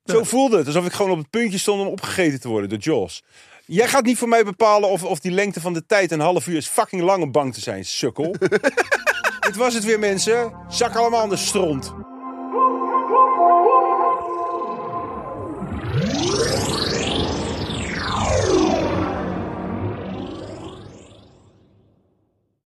Speaker 1: Zo voelde het. Alsof ik gewoon op het puntje stond om opgegeten te worden door Jaws. Jij gaat niet voor mij bepalen of, of die lengte van de tijd een half uur is fucking lang om bang te zijn, sukkel. Dit was het weer, mensen. Zak allemaal aan de stront.